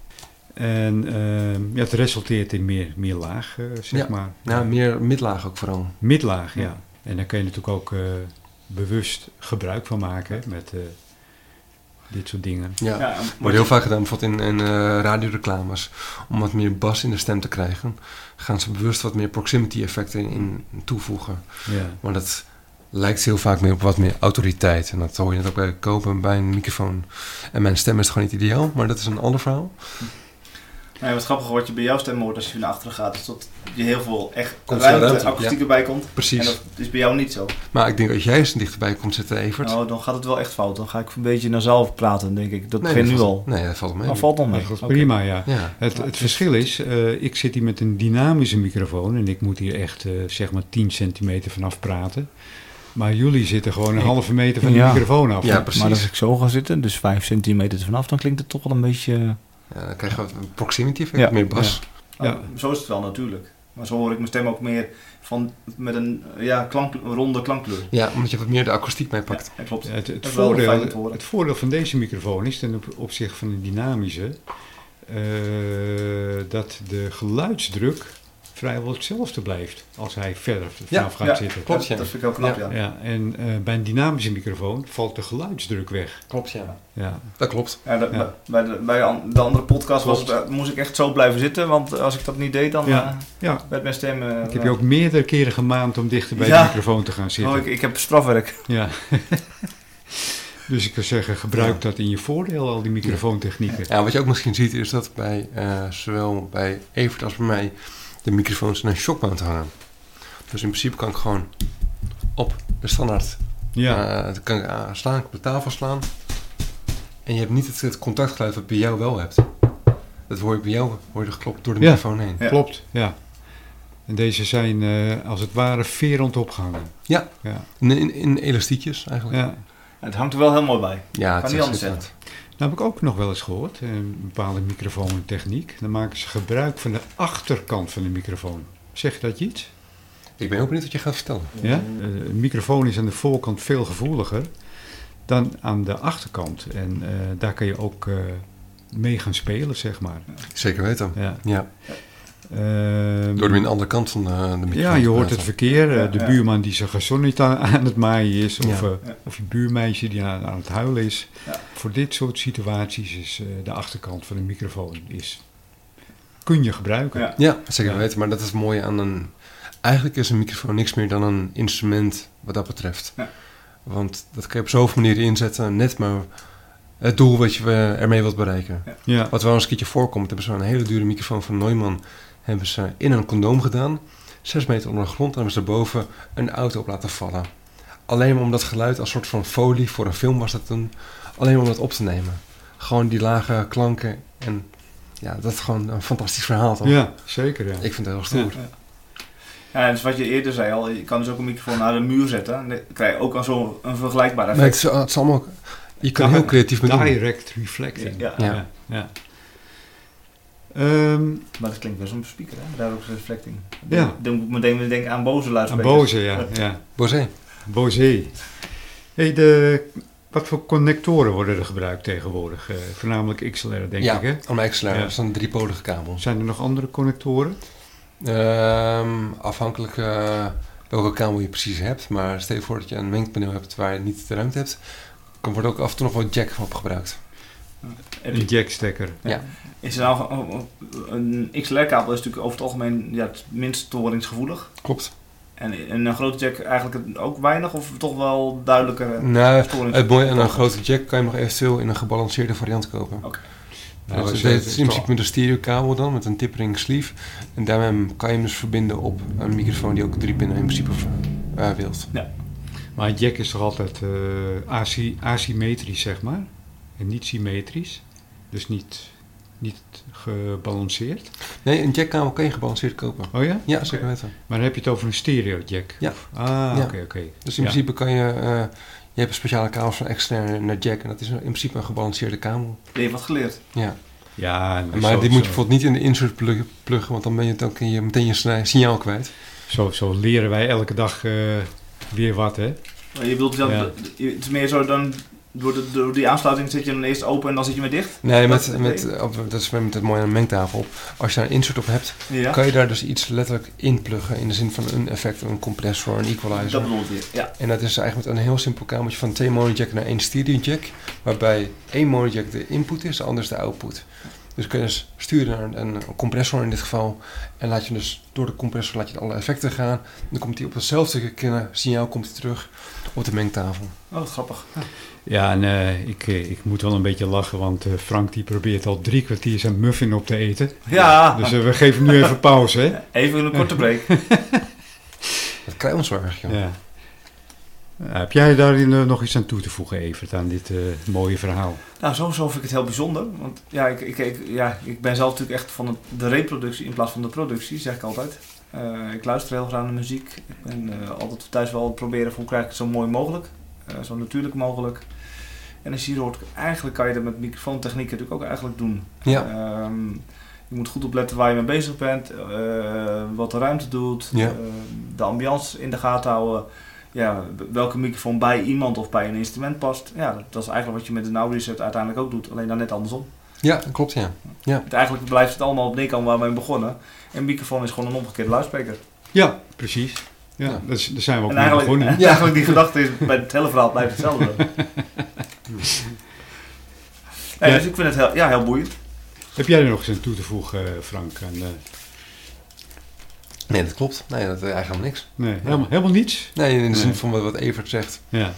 En ehm, ja, het resulteert in meer, meer laag, eh, zeg
Ja.
maar.
Nou, meer midlaag ook vooral.
Midlaag, ja.
Ja.
En daar kun je natuurlijk ook eh, bewust gebruik van maken hè, met eh, dit soort dingen.
Ja.
Ja, en-
Wordt heel vaak gedaan, bijvoorbeeld in, in eh, radioreclames. Om wat meer bas in de stem te krijgen, gaan ze bewust wat meer proximity effecten in, in toevoegen.
Ja.
Maar dat lijkt heel vaak meer op wat meer autoriteit. En dat hoor je net ook bij kopen bij een microfoon. En mijn stem is gewoon niet ideaal, maar dat is een ander verhaal.
Nee, wat grappig wordt je bij jouw stem hoort als je naar achteren gaat, is dat je heel veel echt
Komt
ruimte,
veel ruimte,
akoestiek erbij komt. En
Precies.
dat is bij jou niet zo.
Maar ik denk dat jij eens dichterbij komt zitten, Evert.
Nou, dan gaat het wel echt fout. Dan ga ik een beetje naar zelf praten, denk ik. Dat
Nee,
begint
dat
nu
valt-
al.
Nee, dat valt mee.
Dat valt dan mee.
Dat is
Oké.
prima, ja.
Ja.
Het, het verschil is, eh, ik zit hier met een dynamische microfoon en ik moet hier echt eh, zeg maar 10 centimeter vanaf praten. Maar jullie zitten gewoon een
Ik-
halve meter van de
Ja.
microfoon af.
ja, precies.
Maar als ik zo ga zitten, dus 5 centimeter vanaf, dan klinkt het toch wel een beetje.
Ja, dan krijg je wat een proximity effect,
Ja.
meer bas.
Ja.
Ah, zo is het wel natuurlijk. Maar zo hoor ik mijn stem ook meer van, met een ja, klank, een ronde klankkleur.
Ja. omdat je wat meer de akoestiek mee pakt.
Ja, dat klopt.
Ja, het, het,
Dat is wel fijn
voordeel,
om te horen.
het voordeel van deze microfoon is ten op- opzichte van de dynamische eh, dat de geluidsdruk vrijwel hetzelfde blijft als hij verder vanaf gaat
ja,
zitten.
klopt,
Dat-
ja.
Dat vind ik heel knap, ja.
Ja, en eh, bij een dynamische microfoon valt de geluidsdruk weg.
Klopt, ja.
Ja,
Dat klopt.
Ja, dat-
Ja.
Bij, de, bij an- de andere podcast was,
Klopt.
het, eh, moest ik echt zo blijven zitten, want als ik dat niet deed, dan
Ja.
eh,
ja
werd mijn stem... eh,
ik heb je
nou,
ook meerdere keren gemaand om dichter bij
Ja.
de microfoon te gaan zitten.
oh, ik, ik heb strafwerk.
Ja. dus ik kan zeggen, gebruik dat in je voordeel, al die microfoontechnieken.
Ja, wat je ook misschien ziet is dat bij eh, zowel bij Evert als bij mij de microfoons in een shockmount hangen. Dus in principe kan ik gewoon op de standaard
Ja,
eh, dat kan ik aan- slaan, op de tafel slaan. En je hebt niet het, het contactgeluid wat bij jou wel hebt. Dat hoor je bij jou hoor je geklopt door de
Ja.
microfoon heen.
Ja.
klopt. Ja. En deze zijn eh, als het ware verend opgehangen.
Ja.
ja.
In, in, in elastiekjes eigenlijk.
ja.
Het hangt er wel heel mooi bij.
Ja, het
niet
is
anders
schitterend.
Nou heb ik ook nog wel eens gehoord, eh, een bepaalde microfoontechniek. Dan maken ze gebruik van de achterkant van de microfoon. Zeg dat je iets?
Ik ben heel benieuwd wat je gaat vertellen.
Ja? eh, een microfoon is aan de voorkant veel gevoeliger dan aan de achterkant. En eh, daar kan je ook eh, mee gaan spelen, zeg maar.
Zeker weten.
Ja.
Ja,
Ehm,
door hem in de andere kant van de, de microfoon
ja,
te
je hoort
praten.
het verkeer. eh,
Ja,
de
ja.
buurman die zijn gazonnetje aan, aan het maaien is. Of,
Ja.
eh,
Ja.
of je buurmeisje die aan, aan het huilen is.
Ja.
Voor dit soort situaties is eh, de achterkant van de microfoon... Is, kun je gebruiken.
Ja.
Ja, zeker
Ja.
weten. Maar dat is het mooie aan een... Eigenlijk is een microfoon niks meer dan een instrument wat dat betreft.
Ja.
Want dat kan je op zoveel manieren inzetten. Net maar het doel wat je eh, ermee wilt bereiken.
Ja.
Wat wel eens een keertje voorkomt, hebben ze een hele dure microfoon van Neumann hebben ze in een condoom gedaan. Zes meter onder de grond en hebben ze daarboven een auto op laten vallen. Alleen maar om dat geluid als soort van folie voor een film was dat toen. Alleen maar om dat op te nemen. Gewoon die lage klanken. En ja, dat is gewoon een fantastisch verhaal toch?
Ja, zeker. Ja.
Ik vind het heel stoer.
Ja, dus wat je eerder zei al, je kan dus ook een microfoon naar de muur zetten. En dan krijg je ook al zo'n een vergelijkbaar
maar het
effect.
is, het is allemaal... Je kan
Ja,
heel creatief mee doen.
Direct reflecting.
Ja.
Ja.
ja. ja. Ehm,
Maar dat klinkt wel zo'n speaker, hè? Daar ook zo'n reflecting.
Ja.
Dan moet ik meteen denken aan boze
Een
luidsprekers.
boze, ja. ja.
Bosé.
Boze. Hey, de, wat voor connectoren worden er gebruikt tegenwoordig? Eh, voornamelijk XLR, denk
ja,
ik, hè?
allemaal XLR.
Ja.
Dat is een driepolige kabel.
Zijn er nog andere connectoren?
Ehm, afhankelijk eh, welke kabel je precies hebt. Maar stel je voor dat je een mengpaneel hebt waar je niet de ruimte hebt. Dan wordt ook af en toe nog wel jack op gebruikt.
Heb je-
Een jackstekker.
Is er nou, oh, oh, een XLR-kabel is natuurlijk over het algemeen ja, het minst storingsgevoelig.
Klopt.
En in een grote jack eigenlijk het ook weinig, of toch wel duidelijker
Nou,
storing.
het mooie aan een grote jack kan je nog eventueel in een gebalanceerde variant kopen.
Nou,
dus
is,
het
eh,
is in principe met een stereokabel dan, met een tippering sleeve. En daarmee kan je hem dus verbinden op een microfoon die ook drie pinnen in principe eh, wilt.
Maar jack is toch altijd eh, asy- asymmetrisch, zeg maar? En niet symmetrisch. Dus niet, niet gebalanceerd.
Nee, een jackkabel kan je gebalanceerd kopen.
Oh ja?
Ja, zeker weten.
Maar dan heb je het over een stereo jack.
Ja.
Ah, oké,
Ja.
oké.
Dus in
Ja.
principe kan je... eh, je hebt een speciale kabel van externe naar jack. En dat is in principe een gebalanceerde kabel.
Je hebt wat geleerd.
Ja,
Ja, nou,
maar
zo-
die moet je
zo-
bijvoorbeeld niet in de insert plug- pluggen, want dan ben je het ook in je, meteen je sni- signaal kwijt.
Zo, zo leren wij elke dag eh, weer wat, hè?
Maar je bedoelt dan,
Ja.
het is meer zo dan, door, de, door die aansluiting zit je dan eerst open en dan zit je weer dicht?
Nee,
Dat-
met, met, op- dat is weer met het mooie aan een mengtafel. Op. Als je daar een insert op hebt,
Ja,
kan je daar dus iets letterlijk in pluggen. In de zin van een effect, een compressor, een equalizer.
dat bedoel je. Ja.
En dat is eigenlijk met een heel simpel kamertje van twee monojack naar één stereo jack. Waarbij één monojack de input is, de ander is de output. Dus kun je dus sturen naar een, een compressor in dit geval. En laat je dus door de compressor laat je alle effecten gaan. Dan komt die op hetzelfde kennen, signaal komt die terug op de mengtafel.
Oh, wat grappig.
Ja, en eh, ik, eh, ik moet wel een beetje lachen, want eh, Frank die probeert al drie kwartier zijn muffin op te eten.
Ja,
Dus eh, we geven hem nu even pauze, hè?
even een korte break.
Dat krijgt ons wel erg, joh.
Ja. Nou, heb jij daarin eh, nog iets aan toe te voegen, Evert, aan dit eh, mooie verhaal?
Nou, sowieso vind ik het heel bijzonder. Want ja, ik, ik, ik- ja, ik ben zelf natuurlijk echt van het- de reproductie in plaats van de productie, zeg ik altijd. Eh, ik luister heel graag naar muziek. Ik ben eh, altijd thuis wel proberen van hoe krijg ik het zo mooi mogelijk. eh, zo natuurlijk mogelijk. En als je hier hoort, eigenlijk kan je dat met microfoontechnieken natuurlijk ook eigenlijk doen.
Ja.
Ehm, je moet goed opletten waar je mee bezig bent, eh, wat de ruimte doet,
Ja.
eh, de ambiance in de gaten houden. Ja, welke microfoon bij iemand of bij een instrument past. Ja, dat, dat is eigenlijk wat je met een audio set uiteindelijk ook doet, alleen dan net andersom.
Ja, dat klopt, ja.
Het, eigenlijk blijft het allemaal op neerkomen waar we mee begonnen. En microfoon is gewoon een omgekeerde luidspreker.
Ja, precies. Ja,
Ja.
dat is- daar zijn we ook
En
mee
eigenlijk,
begonnen.
en eigenlijk die gedachte is bij het hele verhaal blijft hetzelfde. Nee,
Ja.
Dus ik vind het heel, ja, heel boeiend.
Heb jij er nog iets aan toe te voegen, eh, Frank? Aan, eh,
Nee, dat klopt. Nee, dat is eigenlijk helemaal niks.
nee, helemaal, helemaal niets?
Nee, in de zin
Nee.
van wat- wat Evert zegt.
Ja.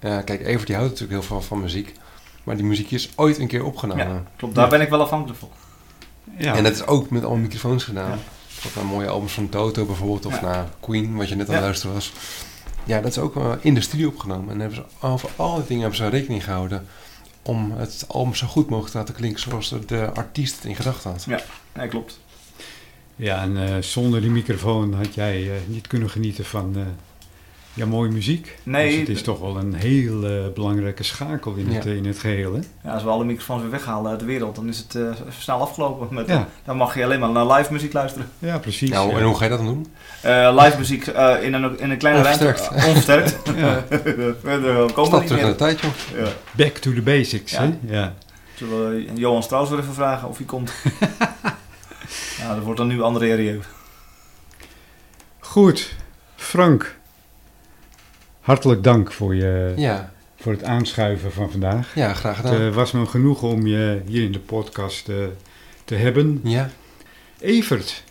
Ja, kijk, Evert die houdt natuurlijk heel veel van muziek. Maar die muziek is ooit een keer opgenomen.
Klopt, daar ben ik wel afhankelijk van.
ja.
En dat is ook met allemaal microfoons gedaan.
Ja.
Of naar mooie albums van Toto bijvoorbeeld, of
Ja.
naar Queen, wat je net aan het
Ja.
luisteren was. Ja, dat is ook eh, in de studio opgenomen. En hebben ze over al die dingen hebben ze rekening gehouden om het album zo goed mogelijk te laten klinken zoals de- de artiest het in gedachten had.
Nee, klopt.
Ja, en eh, zonder die microfoon had jij eh, niet kunnen genieten van eh, ja, mooie muziek.
Nee,
Dus het is
d-
toch wel een heel eh, belangrijke schakel in het,
Ja.
in het geheel, hè?
Ja, als we alle microfoons weer weghalen uit de wereld, dan is het eh, snel afgelopen. Met,
Ja,
Dan mag je alleen maar naar live muziek luisteren.
ja precies.
Nou,
ja.
en hoe ga je dat dan doen?
Eh, live muziek eh, in, een, in een kleine ruimte.
Onversterkt.
eh, onversterkt.
Ja.
Verder eh, komen we
Stap
niet
terug naar
meer.
de tijd, joh.
Ja.
Back to the basics,
Ja.
hè? Ja.
Zullen we Johan Strauss weer even vragen of hij komt? nou, dat wordt dan nu André Rieu.
Goed, Frank. Hartelijk dank voor, je,
Ja,
voor het aanschuiven van vandaag.
ja graag
Het
gedaan.
eh, was me genoeg om je hier in de podcast eh, te hebben.
ja,
Evert,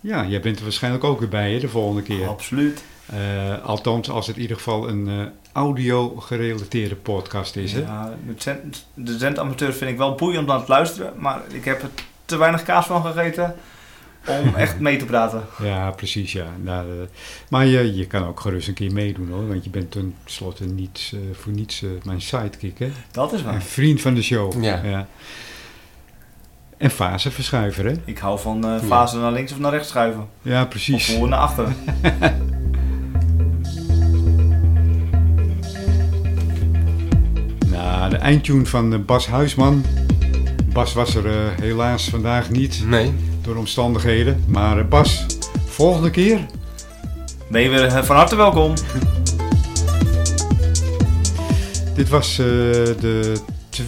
ja, jij bent er waarschijnlijk ook weer bij hè, de volgende
Oh.
keer.
Absoluut.
Eh, althans, als het in ieder geval een eh, audio-gerelateerde podcast is. Hè?
Ja, het zend- de zendamateur vind ik wel boeiend om aan het luisteren, maar ik heb er te weinig kaas van gegeten om echt mee te praten.
Ja, precies, ja. Nou, eh, maar je, je kan ook gerust een keer meedoen, hoor. Want je bent tenslotte niet eh, voor niets eh, mijn sidekick, hè?
Dat is
Een
waar.
vriend van de show.
Ja.
En faseverschuiver, hè?
Ik hou van eh fase naar links of naar rechts schuiven.
Ja,
Of
precies.
voor naar achter.
Nou, de eindtune van eh, Bas Huisman. Bas was er eh, helaas vandaag niet
nee.
door omstandigheden. Maar eh, Bas, volgende keer.
Ben je weer eh, van harte welkom.
Dit was eh, de 22e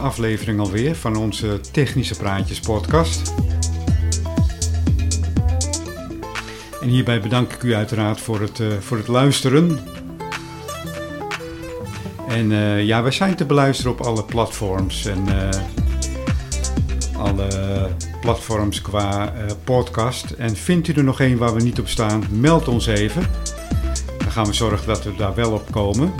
aflevering alweer van onze Technische Praatjes podcast. En hierbij bedank ik u uiteraard voor het, eh, voor het luisteren. En eh, ja, wij zijn te beluisteren op alle platforms. En eh, alle platforms qua eh, podcast. En vindt u er nog een waar we niet op staan, meld ons even. Dan gaan we zorgen dat we daar wel op komen.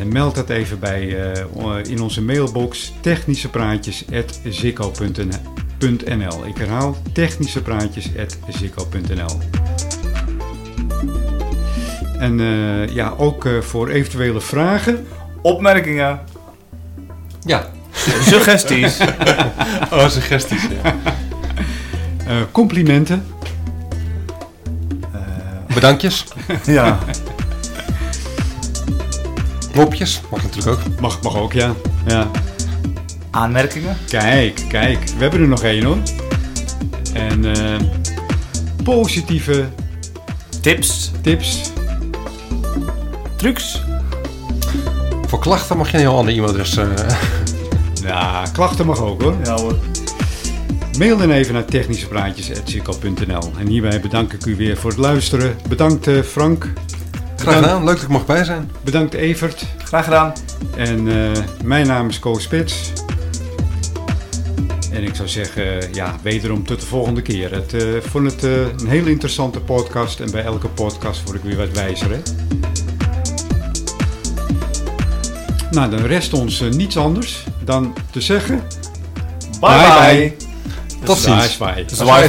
En meld dat even bij, eh, in onze mailbox technischepraatjes.zikko.nl. Ik herhaal technischepraatjes.zikko.nl. En eh, ja, ook eh, voor eventuele vragen.
Opmerkingen,
Ja,
suggesties.
oh, suggesties. Ja.
eh, complimenten.
Eh,
Bedankjes,
ja.
mopjes, mag natuurlijk ook.
Mag, mag ook, ja. ja.
Aanmerkingen?
Kijk, kijk. We hebben er nog één hoor. En eh, positieve
Tips?
tips.
Trucs?
Voor klachten mag je een heel ander e-mailadres. eh,
Ja, klachten mag ook hoor.
Ja hoor.
Mail dan even naar technischepraatjes.nl. En hierbij bedank ik u weer voor het luisteren. Bedankt eh, Frank.
Graag gedaan, leuk dat ik mocht bij zijn.
Bedankt Evert.
Graag gedaan.
En eh, mijn naam is Koos Spits. En ik zou zeggen, ja, wederom tot de volgende keer. Het, eh, ik vond het eh, een hele interessante podcast en bij elke podcast word ik weer wat wijzer. Hè? Nou, dan rest ons eh, niets anders dan te zeggen...
bye.
Bye
bye.
Tot ziens.
Zwaai, zwaai.